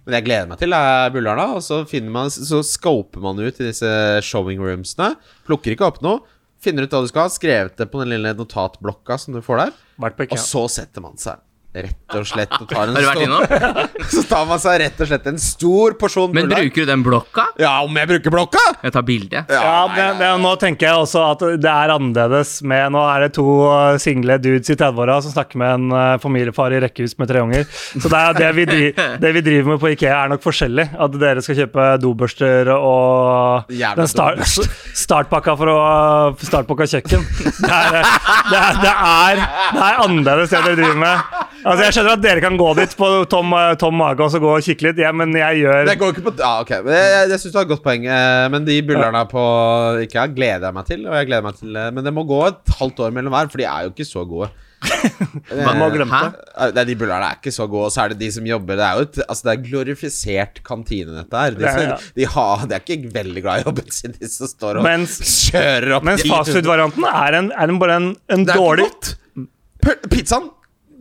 Speaker 2: Men jeg gleder meg til er Bullerna, og så, finner man, så scoper man ut i disse showing roomsene. Plukker ikke opp noe. Finner ut hva du skal ha, skrevet det på den lille notatblokka som du får der.
Speaker 4: Vært på
Speaker 2: Og
Speaker 4: IKEA.
Speaker 2: så setter man seg rett og slett og tar en
Speaker 3: Har du vært
Speaker 2: stor,
Speaker 3: innom?
Speaker 2: Så tar man seg rett og slett en stor porsjon
Speaker 3: Men
Speaker 2: bullar.
Speaker 3: bruker du den blokka?
Speaker 2: Ja, om jeg bruker blokka!
Speaker 3: Jeg tar bilde.
Speaker 4: Ja,
Speaker 2: nei,
Speaker 4: det,
Speaker 2: nei,
Speaker 4: det, nå tenker jeg også at det er annerledes med Nå er det to eh, single dudes i 30-åra som snakker med en eh, familiefar i rekkehus med tre unger. Så det, er det, vi dri, det vi driver med på Ikea, er nok forskjellig. At dere skal kjøpe dobørster og
Speaker 2: Jævla
Speaker 4: den star,
Speaker 2: dobørster.
Speaker 4: startpakka for å Startpakka kjøkken. Det er, eh, det, er, det, er, det er annerledes det dere driver med. Altså Jeg skjønner at dere kan gå dit på tom, eh, tom mage og så gå og kikke litt, ja, men jeg gjør
Speaker 2: Det går ikke på Ja, ok. Men Jeg, jeg, jeg syns du har et godt poeng. eh, Men de bullerne på IKEA gleder jeg meg til. Og jeg gleder meg til eh, Men det må gå et halvt år mellom hver, for de er jo ikke så gode.
Speaker 4: Man må glemme
Speaker 3: Hæ?
Speaker 4: det.
Speaker 2: Eh, Nei, De bullerne er ikke så gode, og så er det de som jobber Det er jo et altså, det er glorifisert kantine, dette her. De,
Speaker 4: Det er- ja.
Speaker 2: de, har, de er ikke veldig glad i jobben sin, de som står og
Speaker 4: Mens-
Speaker 2: kjører opp
Speaker 4: Mens
Speaker 2: 10 000.
Speaker 4: fastfood-varianten er, en, er en, bare en, en
Speaker 2: Det er
Speaker 4: dårlig
Speaker 2: ikke godt. altså, Pøl- Pizzaen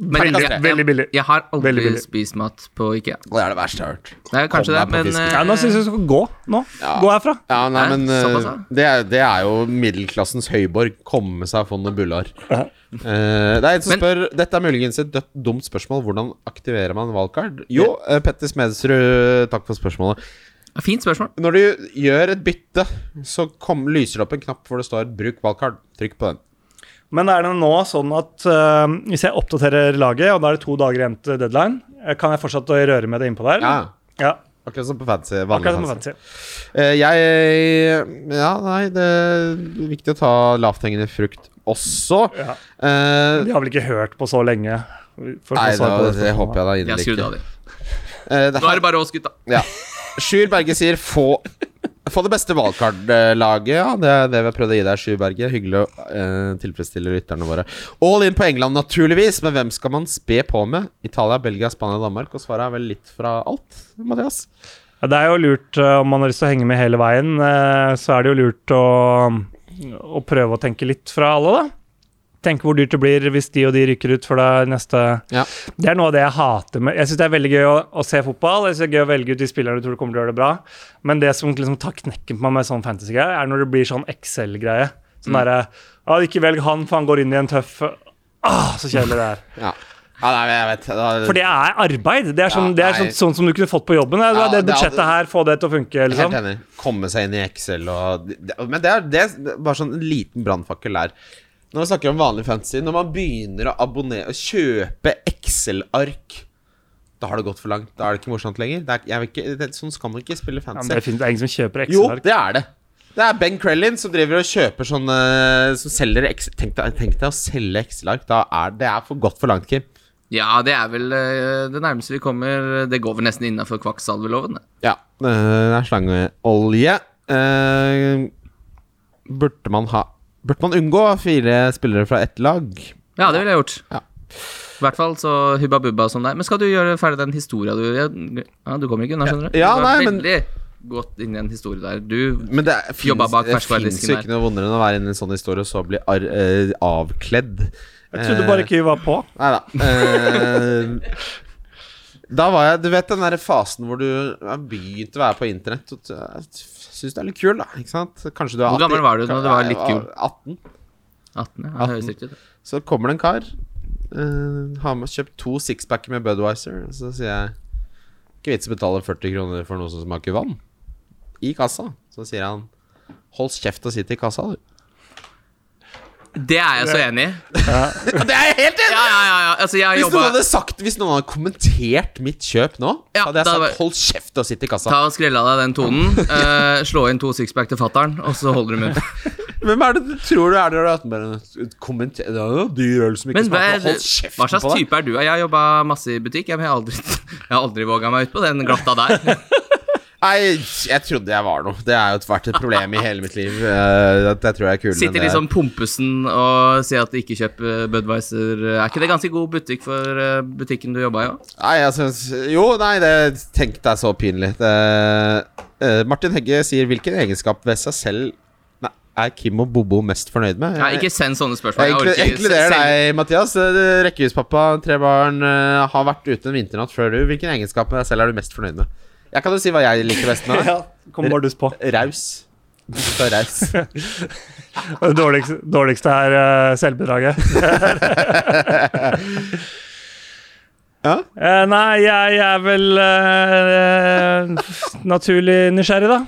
Speaker 3: Men altså,
Speaker 2: Veldig-
Speaker 3: jeg-
Speaker 4: veldig billig.
Speaker 3: Jeg har
Speaker 4: Veldig
Speaker 3: aldri
Speaker 4: billig.
Speaker 3: spist mat på IKEA.
Speaker 2: Det er det verste jeg har hørt.
Speaker 3: Nei, kanskje det,
Speaker 2: Kom deg på
Speaker 3: men
Speaker 2: fisken.
Speaker 3: eh,
Speaker 4: Ja, nå syns jeg du skal gå. Nå. Gå herfra.
Speaker 2: Ja, nei,
Speaker 3: Hæ?
Speaker 2: men eh,
Speaker 3: Såpass, ja.
Speaker 2: det, er, det er jo middelklassens høyborg. Komme seg av fondet bullar. Eh, det er en som
Speaker 3: Men-
Speaker 2: spør Dette er muligens et dødt, dumt spørsmål. Hvordan aktiverer man valgkart? Jo, eh, Petter Smedsrud, takk for spørsmålet.
Speaker 3: Fint spørsmål.
Speaker 2: Når du gjør et bytte, så kom, lyser det opp en knapp hvor det står 'bruk valgkart'. Trykk på den.
Speaker 4: Men er det nå sånn at eh, hvis jeg oppdaterer laget, og da er det to dager igjen til deadline, eh, kan jeg fortsatt å røre med det innpå der?
Speaker 2: Ja,
Speaker 4: ja
Speaker 2: Akkurat som på fancy. Vanlig
Speaker 4: akkurat som
Speaker 2: fancy.
Speaker 4: på fancy.
Speaker 2: Eh, jeg Ja, nei, det er viktig å ta lavthengende frukt også.
Speaker 4: Ja.
Speaker 2: Eh,
Speaker 4: De har vel ikke hørt på så lenge? for å få
Speaker 2: nei,
Speaker 4: svar
Speaker 2: da,
Speaker 4: på
Speaker 2: det,
Speaker 4: spørsmålet.
Speaker 2: håper jeg da
Speaker 3: Jeg har
Speaker 2: inderlig
Speaker 3: skrudd
Speaker 2: ikke.
Speaker 3: av de.
Speaker 2: Eh, det
Speaker 3: Nå er det bare oss, gutta.
Speaker 2: Ja. Sjur Berge sier få Få det beste valgkartlaget. Ja, det er det vi har prøvd å gi deg, Sjur Berge. Hyggelig å eh, tilfredsstille lytterne våre. All in på England, naturligvis, men hvem skal man spe på med? Italia, Belgia, Spania, Danmark? Og svaret er vel litt fra alt, Mathias.
Speaker 4: Ja, Det er jo lurt eh, om man har lyst til å henge med hele veien, eh, så er det jo lurt å, å prøve å tenke litt fra alle, da. Tenke hvor dyrt det blir hvis de og de rykker ut for det neste
Speaker 2: Ja.
Speaker 4: Det er noe av det jeg hater med Jeg syns det er veldig gøy å, å se fotball. Jeg synes det er gøy å velge ut de spillerne du tror kommer til å gjøre det bra. Men det som liksom tar knekken på meg med sånn fantasy-greie, er når det blir sånn Excel-greie. Sånn
Speaker 2: Mm.
Speaker 4: derre Ja, ikke velg han, for han går inn i en tøff Ah, så kjedelig det er.
Speaker 2: Ja, ja nei, men jeg vet da-
Speaker 4: For det er arbeid. Det er sånn,
Speaker 2: Ja,
Speaker 4: det er
Speaker 2: nei.
Speaker 4: sånn, sånn som du kunne fått på jobben.
Speaker 2: Ja,
Speaker 4: Det,
Speaker 2: det
Speaker 4: det
Speaker 2: hadde-
Speaker 4: budsjettet her, få det til å funke,
Speaker 2: Helt
Speaker 4: liksom.
Speaker 2: enig. Sånn. Komme seg inn i Excel og det- Men det er, det er bare sånn en liten brannfakkel der. Når vi snakker om vanlig fantasy, når man begynner å abonnere Å kjøpe Excel-ark, da har det gått for langt. Da er det ikke morsomt lenger. Det er, jeg vil ikke, det, sånn skal man ikke spille
Speaker 4: Ja, men
Speaker 2: fantasy.
Speaker 4: det, finnes, det er ingen som kjøper
Speaker 2: jo,
Speaker 4: Excel-ark.
Speaker 2: det er det. Det er Ben Krellin som driver og kjøper sånne Som selger Excel Tenk deg, tenk deg å selge Excel-ark. Da er det er for godt for langt, Kim.
Speaker 3: Ja, det er vel eh, det nærmeste vi kommer. Det går vel nesten innafor kvakksalveloven. det.
Speaker 2: Ja, øh, det er slangeolje. Eh, burde man ha Burde man unngå fire spillere fra ett lag?
Speaker 3: Ja, det ville jeg gjort.
Speaker 2: Ja.
Speaker 3: I hvert fall så hubba bubba som deg. Men skal du gjøre ferdig den historia du ja, ja, du kommer ikke unna, skjønner du.
Speaker 2: Ja,
Speaker 3: du var
Speaker 2: nei, men-
Speaker 3: veldig godt inn i en historie der. Du
Speaker 2: Men det
Speaker 3: Jobba bak
Speaker 2: fins
Speaker 3: ferskvaredisken
Speaker 2: jo ikke noe vondere enn å være inne i en sånn historie og så bli ar eh, avkledd.
Speaker 4: Jeg trodde bare ikke vi var på.
Speaker 2: Nei da. Eh, da var jeg Du vet den der fasen hvor du har begynt å være på internett og syns du er litt kul, da. Ikke sant? Kanskje du er
Speaker 3: Hvor
Speaker 2: 80.
Speaker 3: gammel var du når du var litt
Speaker 2: Jeg
Speaker 3: kul?
Speaker 2: 18.
Speaker 3: 18, ja, det høres riktig ut.
Speaker 2: Så kommer det en kar eh, Har med, kjøpt to sixpacker med Budweiser og Så sier jeg Ikke vits å betale 40 kroner for noe som smaker vann I kassa Så sier han Hold kjeft og sitt i kassa du
Speaker 3: Det er jeg så enig i.
Speaker 2: Det er jeg helt enig
Speaker 3: Ja, ja, ja. ja. Altså, jeg har
Speaker 2: hvis
Speaker 3: jobba
Speaker 2: noen, hadde sagt, hvis noen hadde kommentert mitt kjøp nå
Speaker 3: Ja,
Speaker 2: Hadde jeg
Speaker 3: da
Speaker 2: sagt
Speaker 3: var-
Speaker 2: hold kjeft og sitt i kassa
Speaker 3: Ta og Skrell av deg den tonen. eh, slå inn to sixpack til fattern, og så holder du munn.
Speaker 2: Hvem er det du tror du er når du er 18? Bare en kommenter- Det er jo dyr øl som ikke
Speaker 3: Men hva,
Speaker 2: smaker. Hold
Speaker 3: hva
Speaker 2: kjeften
Speaker 3: slags
Speaker 2: på deg.
Speaker 3: type er du? Jeg har jobba masse i butikk. Jeg har aldri, jeg har aldri våga meg ut på den glatta der.
Speaker 2: Nei, jeg trodde jeg var noe. Det har jo vært et problem i hele mitt liv. eh, At jeg tror jeg er kulere enn
Speaker 3: Sitter
Speaker 2: det jeg er.
Speaker 3: liksom Pompesen og sier at ikke kjøp eh, Budweiser. Er ikke det ganske god butikk for eh, butikken du jobba i òg?
Speaker 2: Nei, jeg synes Jo, nei, det Tenk deg så pinlig. Det, eh, Martin Hegge sier hvilken egenskap ved seg selv Nei, er Kim og Bobo mest fornøyd med?
Speaker 3: Nei, ikke send sånne
Speaker 2: jeg
Speaker 3: spørsmål.
Speaker 2: inklu-
Speaker 3: orker ikke.
Speaker 2: inkluderer
Speaker 3: Send-
Speaker 2: deg, Mathias. Eh, Rekkehuspappa, tre barn, eh, har vært ute en vinternatt før du. Hvilken egenskap med deg selv er du mest fornøyd med? Jeg kan jo si hva jeg liker best med.
Speaker 4: Ja, kom Bardus på.
Speaker 2: Raus. Så raus.
Speaker 4: Det dårligste, dårligste er eh, selvbedraget.
Speaker 2: Ja.
Speaker 4: Eh, nei, jeg, er vel eh, eh, naturlig nysgjerrig, da.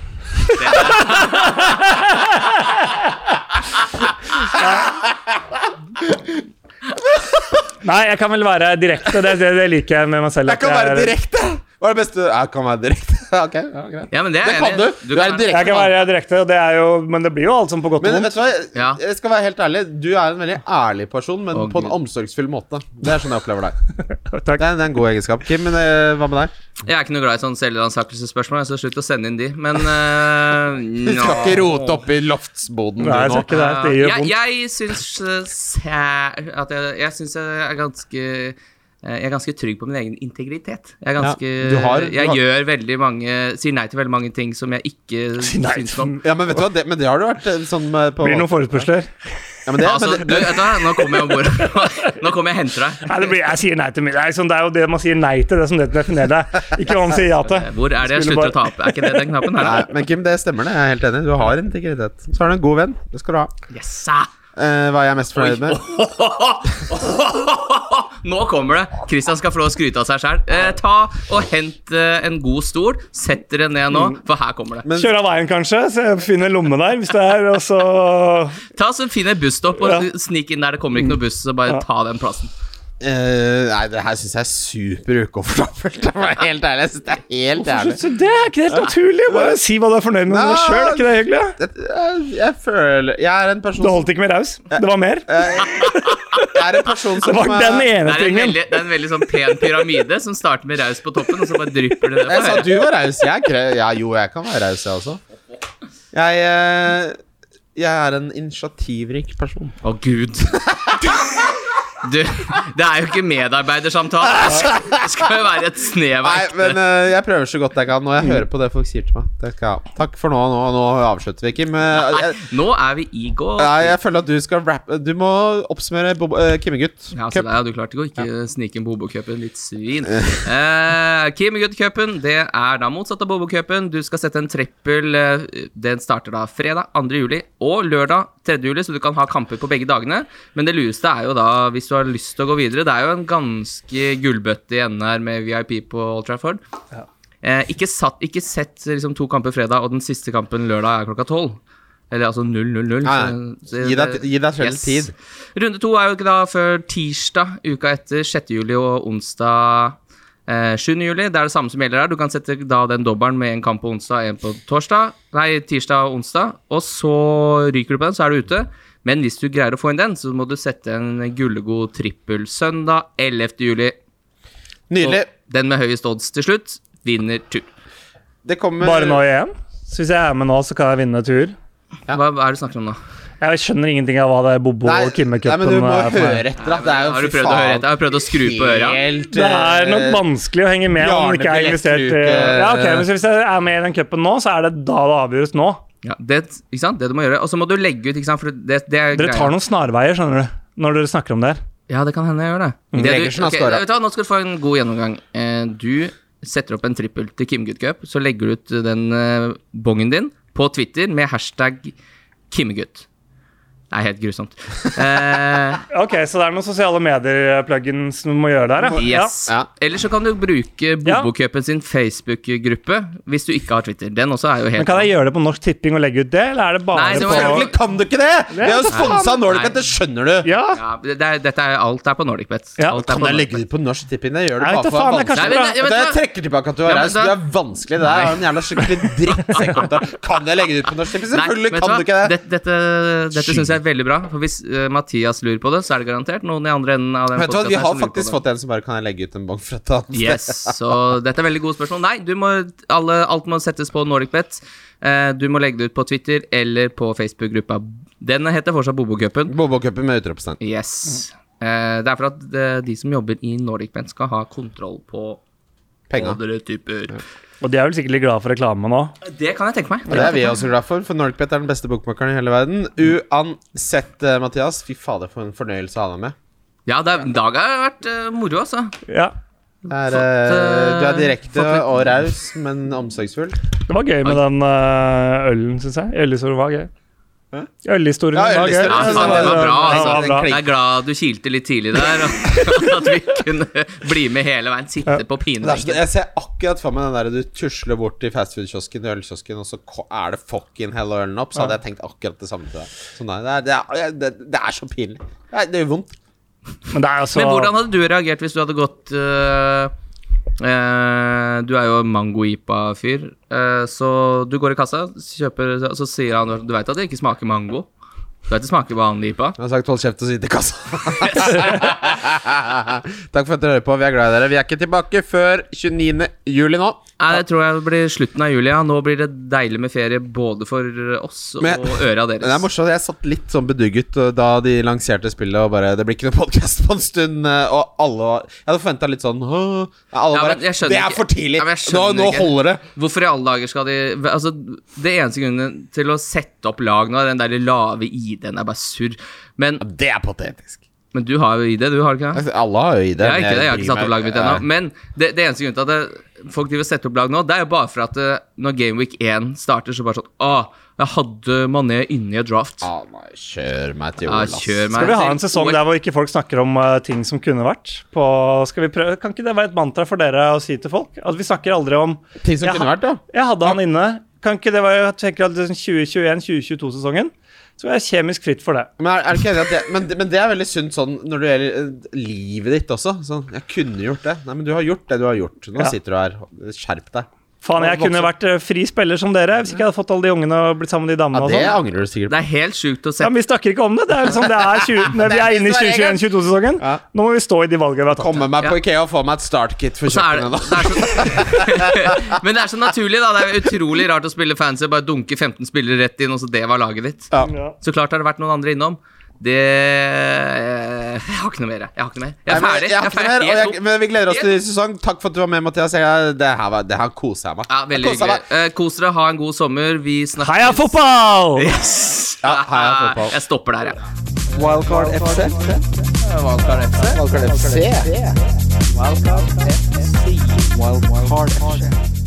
Speaker 4: Nei, jeg kan vel være direkte. Det, det, det liker jeg med meg selv.
Speaker 2: Jeg kan
Speaker 4: at
Speaker 2: være
Speaker 4: er-
Speaker 2: direkte! Hva er det beste Jeg kan være direkte. Ok, ja, greit.
Speaker 3: Ja, men det er
Speaker 2: Det
Speaker 3: jeg
Speaker 2: kan
Speaker 3: enig i.
Speaker 2: du. Du er en direkte
Speaker 4: Jeg kan være direkte, og det er jo, men det blir jo alt sånn på godt og
Speaker 2: Men
Speaker 4: vondt.
Speaker 2: vet du hva, jeg-
Speaker 3: Ja.
Speaker 2: jeg skal være helt ærlig Du er en veldig ærlig person, men
Speaker 3: Å,
Speaker 2: på en
Speaker 3: Gud.
Speaker 2: omsorgsfull måte. Det er sånn jeg opplever deg.
Speaker 4: Takk.
Speaker 2: Det er, det er en god egenskap. Kim, men, eh, hva med deg?
Speaker 3: Jeg er ikke noe glad i sånne selvransakelsesspørsmål, så slutt å sende inn de. Men uh,
Speaker 2: Du skal ikke rote opp i loftsboden du
Speaker 4: Nei, jeg skal
Speaker 2: nå.
Speaker 4: ikke det. Det gjør
Speaker 3: jeg,
Speaker 4: vondt.
Speaker 3: jeg syns eh, sæ- at jeg, jeg syns jeg er ganske eh, jeg er ganske trygg på min egen integritet. Jeg, er ganske,
Speaker 2: Ja, du har- du
Speaker 3: jeg
Speaker 2: har-
Speaker 3: gjør veldig mange Sier nei til veldig mange ting som jeg ikke
Speaker 4: nei
Speaker 3: syns noe om.
Speaker 2: Ja, men vet du hva, det, men det har du vært eh, sånn eh, på
Speaker 4: Blir det noen forespørsler?
Speaker 2: ja, men det,
Speaker 3: Altså,
Speaker 2: men
Speaker 3: du,
Speaker 2: det,
Speaker 3: vet du, hva, nå kommer jeg om bord. Nå kommer jeg og henter deg.
Speaker 4: Nei, det blir, jeg sier nei til middag. Sånn, det er jo det man sier nei til, det som det definerer deg. Ikke hva man sier ja til.
Speaker 3: Eh, Hvor er det jeg
Speaker 4: Skulle
Speaker 3: slutter å ta
Speaker 4: bare-
Speaker 3: opp? Er ikke det den knappen her?
Speaker 2: Nei, men Kim, det stemmer, det. Jeg er helt enig. Du har integritet. Så er du en god venn. Det skal du ha.
Speaker 3: Yes, sa.
Speaker 2: Eh, hva er jeg mest fornøyd med?
Speaker 3: Nå kommer det! Christian skal få lov å skryte av seg sjæl. Eh, ta og hent eh, en god stol. Sett dere ned nå,
Speaker 2: Mm.
Speaker 3: for her kommer det.
Speaker 2: Men-
Speaker 4: Kjøre av veien, kanskje. Så jeg finner en lomme der, hvis det er. Og så
Speaker 3: Ta så Finn et busstopp og
Speaker 4: Ja.
Speaker 3: snik inn der det kommer ikke noe buss. Så bare ta den plassen.
Speaker 2: Eh, nei, det her syns jeg er super ukomfortabelt. Det var helt ærlig. Jeg synes det er helt ærlig.
Speaker 4: Så det er ikke helt naturlig. Bare si hva du er fornøyd med med deg sjøl. Er ikke det hyggelig?
Speaker 2: Det, jeg, jeg føler Jeg er en person
Speaker 4: Det holdt ikke med raus. Det var mer.
Speaker 2: Jeg er en person som
Speaker 4: Det var
Speaker 2: eh,
Speaker 4: den
Speaker 3: Det er
Speaker 4: ene
Speaker 3: en
Speaker 4: tingen.
Speaker 3: veldig, det er en veldig sånn pen pyramide som starter med raus på toppen, og så bare drypper det
Speaker 2: Jeg sa
Speaker 3: ned.
Speaker 2: du var raus. Jeg er kre- ja, jo, jeg kan være raus, jeg også. Jeg, eh, jeg er en initiativrik person.
Speaker 3: Å, gud. Du, det er jo ikke medarbeidersamtale. Det skal, det skal jo være et snev
Speaker 2: Nei,
Speaker 3: av
Speaker 2: men
Speaker 3: ekte.
Speaker 2: eh, jeg prøver så godt jeg kan, og jeg hører på det folk sier til meg. Det skal jeg ha. Takk for nå. Nå, nå avslutter vi, Kim. Eh,
Speaker 3: Nei,
Speaker 2: Jeg,
Speaker 3: Nå er vi i gå.
Speaker 2: nei, jeg føler at du skal rappe Du må oppsummere Bob- eh, Kimmegutt.
Speaker 3: Ja, altså, så
Speaker 2: Cup.
Speaker 3: der har du klart ikke å ikke snike inn Bobo-cupen, litt svin. Eh, Kim Good-cupen det er da motsatt av Bobo-cupen. Du skal sette en trippel. eh, Den starter da fredag 2. juli og lørdag 3. juli, så du kan ha kamper på begge dagene. Men det lureste er jo da, hvis du har lyst til å gå videre, det er jo en ganske gullbøtte i enden her med VIP på Old Trafford. Eh, ikke, satt, ikke sett liksom, to kamper fredag, og den siste kampen lørdag er klokka tolv. Eller altså 000.
Speaker 2: Nei,
Speaker 3: så- eh, så-
Speaker 2: Gi deg, gi deg selv
Speaker 3: Yes.
Speaker 2: tid.
Speaker 3: Runde to er jo ikke da før tirsdag uka etter, 6. juli og onsdag eh, 7. juli. Det er det samme som gjelder her. Du kan sette da den dobbelen med en kamp på onsdag og en på torsdag. Nei, tirsdag og onsdag. Og så ryker du på den, så er du ute. Men hvis du greier å få inn den, så må du sette en gullegod trippel søndag 11. juli. Og
Speaker 2: Nydelig.
Speaker 3: den med høyest odds til slutt vinner tur.
Speaker 2: Det kommer
Speaker 4: Bare nå igjen. Så hvis jeg er med nå, så kan jeg vinne tur.
Speaker 3: Hva er det du snakker om nå?
Speaker 4: Jeg skjønner ingenting av hva det er Bobo
Speaker 2: Nei,
Speaker 4: og Kimme-cupen
Speaker 2: nei, men du må
Speaker 4: er. for meg.
Speaker 2: høre etter. Da. Det er jo
Speaker 3: Har du
Speaker 2: fy
Speaker 3: prøvd å høre
Speaker 2: faen
Speaker 3: etter? Har du prøvd å skru på øra?
Speaker 2: helt,
Speaker 4: Det er nok
Speaker 2: eh,
Speaker 4: vanskelig å henge med om man ikke er investert i
Speaker 3: eh,
Speaker 2: Bjarne-billettluke.
Speaker 4: ja, ok, men så Hvis jeg er med i den cupen nå, så er det da det avgjøres nå.
Speaker 3: Ja, det, ikke sant? det du må gjøre. Og så må du legge ut, ikke sant? For det, det er
Speaker 4: Dere
Speaker 3: greia.
Speaker 4: tar noen snarveier, skjønner du. Når dere snakker om det her.
Speaker 3: Ja, det kan hende jeg gjør det. det
Speaker 4: Mm.
Speaker 3: du,
Speaker 2: Gregersen har
Speaker 3: ok,
Speaker 2: skåret.
Speaker 3: vet du hva, nå skal du få en god gjennomgang. Eh, Du setter opp en trippel til Kim Good Cup, så legger du ut den eh, bongen din på Twitter med hashtag Kimmegutt. Det er helt grusomt. Eh,
Speaker 4: Ok, så det er noen sosiale medier-plugins du må gjøre der, ja.
Speaker 3: yes.
Speaker 2: Ja.
Speaker 3: Eller så kan du bruke Bobocupen sin Facebook-gruppe hvis du ikke har Twitter. Den også er jo
Speaker 4: Men
Speaker 3: helt
Speaker 4: kan jeg gjøre det på Norsk Tipping og legge ut det, eller er det bare
Speaker 3: Nei, det må jeg
Speaker 4: på
Speaker 2: Selvfølgelig kan du ikke det! Vi har jo sponsa Nordic,
Speaker 3: Nei.
Speaker 2: dette skjønner du!
Speaker 4: Ja,
Speaker 3: ja, det er, Dette er alt er på NordicBet.
Speaker 4: Ja,
Speaker 3: alt er
Speaker 2: Kan
Speaker 3: på
Speaker 2: jeg
Speaker 3: Nordic
Speaker 2: legge det ut på norsk tipping? Jeg gjør det
Speaker 4: Jeg vet
Speaker 2: bare
Speaker 4: da
Speaker 2: for å
Speaker 4: faen,
Speaker 2: være vanskelig. Vet du,
Speaker 3: Nei, men- ja,
Speaker 4: det er kanskje bra.
Speaker 3: Vet
Speaker 2: jeg
Speaker 3: du hva?
Speaker 2: trekker tilbake at du var
Speaker 3: Ja, men
Speaker 2: raus. Du
Speaker 3: da-
Speaker 2: er vanskelig. Det er en jævla skikkelig drittsekkommentar. Kan jeg legge det ut på norsk tipping?
Speaker 3: Nei,
Speaker 2: Selvfølgelig
Speaker 3: vet
Speaker 2: kan
Speaker 3: hva?
Speaker 2: du ikke det.
Speaker 3: Dette, dette, dette syns jeg er veldig bra. For hvis eh, Mathias lurer på det, så er det garantert noen i andre enden av den
Speaker 2: Vet du hva,
Speaker 3: podcasten
Speaker 2: Vi
Speaker 3: her
Speaker 2: har
Speaker 3: som lurer på det.
Speaker 2: faktisk fått en som bare kan jeg legge ut en bong fra et annet
Speaker 3: Yes, så dette er veldig gode spørsmål. Nei, du må, alle, alt må settes på NordicBet. Eh, du må legge det ut på Twitter eller på Facebook-gruppa. Den heter fortsatt Bobocupen.
Speaker 2: Bobokupen med utropstegn.
Speaker 3: Yes. Eh, det er for at eh, de som jobber i NordicBet, skal ha kontroll på
Speaker 2: Penga.
Speaker 3: andre typer.
Speaker 4: Og de er vel sikkert litt glad for reklame nå.
Speaker 3: Det kan jeg tenke meg.
Speaker 2: Og det er vi også glad for, for Norcpet er den beste bokmakeren i hele verden. Uansett, eh, Mathias, fy fader, for en fornøyelse å ha deg med.
Speaker 3: Ja, det er, dag har vært eh, moro, altså.
Speaker 4: Ja,
Speaker 2: Det er,
Speaker 3: Fått,
Speaker 2: eh,
Speaker 3: eh,
Speaker 2: du er direkte
Speaker 3: fått litt-
Speaker 2: og raus, men omsorgsfull.
Speaker 4: Det var gøy med den eh, ølen, syns jeg. Ølhistorien var gøy.
Speaker 2: Hæ?
Speaker 4: Ølhistorien
Speaker 2: Ja,
Speaker 4: var gøy.
Speaker 2: ølhistorien Ja,
Speaker 3: Ja, faen,
Speaker 2: det var-
Speaker 3: det var
Speaker 2: det
Speaker 3: bra,
Speaker 2: var
Speaker 3: altså.
Speaker 2: bra.
Speaker 3: Jeg er glad du kilte litt tidlig der, og at vi kunne bli med hele veien. Sitte på
Speaker 2: Det er så-
Speaker 3: pinebenken.
Speaker 2: Jeg ser akkurat for meg den der du tusler bort til fastfood-kiosken, til ølkiosken, og så ko- er det fucking hell og ølen opp, så hadde jeg tenkt akkurat det samme til deg. Så nei, det er, det er, jeg- det, det er så pinlig. Det er- Det gjør vondt.
Speaker 4: Men det er jo så
Speaker 3: Men hvordan hadde du reagert hvis du hadde gått øh, øh, Du er jo mango-ipa-fyr, øh, så du går i kassa, kjøper, og så sier han Du veit at det ikke smaker mango? Du vet det smaker vanlig ipa?
Speaker 2: Jeg har sagt hold kjeft og sitt i kassa. Takk for at dere hører på. Vi er glad i dere. Vi er ikke tilbake før 29. juli nå.
Speaker 3: Nei, det tror jeg blir slutten av juli. Ja. Nå blir det deilig med ferie både for oss og
Speaker 2: Men-
Speaker 3: øra
Speaker 2: Men Det er
Speaker 3: deres.
Speaker 2: morsomt, jeg satt litt sånn bedugget uh, da de lanserte spillet og bare Det blir ikke noe podkast på en stund, uh, og alle var Jeg hadde forventa litt sånn Hå? Ja, Alle
Speaker 3: Ja,
Speaker 2: bare
Speaker 3: men jeg skjønner
Speaker 2: Det er
Speaker 3: ikke-
Speaker 2: for tidlig!
Speaker 3: Ja, men
Speaker 2: nå,
Speaker 3: jeg skjønner
Speaker 2: nå
Speaker 3: ikke."
Speaker 2: holder det!
Speaker 3: Hvorfor i alle dager skal de Altså, Det eneste grunnen til å sette opp lag nå, er den der lave ID-en. er bare surr. Men,
Speaker 2: Det er patetisk.
Speaker 3: men du har jo ID, du har ikke det?
Speaker 2: Altså, Alle har jo ID.
Speaker 3: Jeg har ikke det, jeg har
Speaker 2: bryr
Speaker 3: ikke satt
Speaker 2: meg-
Speaker 3: opp laget mitt ennå. Men det, det eneste grunnen til at det, folk driver og setter opp lag nå, det er jo bare for at eh, når Game Week 1 starter, så bare sånn Å, jeg hadde Mané inni et draft.
Speaker 2: Ja, nei, kjør meg til
Speaker 3: Ja,
Speaker 2: Olas.
Speaker 3: kjør meg.
Speaker 4: Skal vi ha en
Speaker 3: til
Speaker 4: sesong
Speaker 3: OL.
Speaker 4: der hvor ikke folk snakker om eh, ting som kunne vært? På, skal vi prøve? Kan ikke det være et mantra for dere å si til folk? At vi snakker aldri om
Speaker 2: Ting som
Speaker 4: Jeg
Speaker 2: kunne
Speaker 4: har-
Speaker 2: vært, ja.
Speaker 4: 'jeg hadde han inne'. Kan ikke det være jeg tenker at 2021-2022-sesongen så er jeg kjemisk fritt for det.
Speaker 2: Men er, er det ikke enig at det, men, men det er veldig sunt sånn når det gjelder eh, livet ditt også. Sånn, jeg kunne gjort det. Nei, men du har gjort det du har gjort. Nå
Speaker 4: Ja.
Speaker 2: sitter du her. Skjerp deg.
Speaker 4: Faen, jeg kunne vært eh, fri spiller som dere hvis ikke jeg hadde fått alle de ungene og blitt sammen med de
Speaker 2: Ja,
Speaker 4: damene.
Speaker 2: det
Speaker 4: og sånn.
Speaker 2: angrer du sikkert på.
Speaker 3: Det er helt sjukt å
Speaker 4: Ja,
Speaker 3: sette
Speaker 4: men Vi snakker ikke om det. det er liksom, det er 20, når vi er inne i 2021-2022-sesongen.
Speaker 2: Ja.
Speaker 4: Nå må vi stå i de valgene vi har tatt.
Speaker 2: Komme meg på
Speaker 3: Ja.
Speaker 2: Ikea og få meg et startkit for
Speaker 3: så er det,
Speaker 2: kjøkkenet, da.
Speaker 3: det er så, Men det er så naturlig, da. Det er utrolig rart å spille fancy, bare dunke 15 spillere rett inn, og så det var laget ditt.
Speaker 2: Ja.
Speaker 4: Ja.
Speaker 3: Så klart har det vært noen andre innom. Det eh, Jeg har ikke noe mer, jeg. Jeg har ikke noe mer. Jeg
Speaker 2: Nei,
Speaker 3: er
Speaker 2: men
Speaker 3: ferdig.
Speaker 2: Jeg har ikke mer,
Speaker 3: helt
Speaker 2: og
Speaker 3: tom.
Speaker 2: jeg, men vi gleder oss til ny sesong. Takk for at du var med, Mathias. Jeg, det her, var- det her koser jeg meg.
Speaker 3: Ja, veldig
Speaker 2: Jeg koser
Speaker 3: hyggelig.
Speaker 2: meg.
Speaker 3: Eh, Kos dere, ha en god sommer. Vi snakkes.
Speaker 4: Heia fotball!
Speaker 2: Ja, heia fotball.
Speaker 3: Jeg stopper der, jeg. Ja.
Speaker 1: Wildcard FC. Wildcard FC. Wildcard FC. Wildcard FC.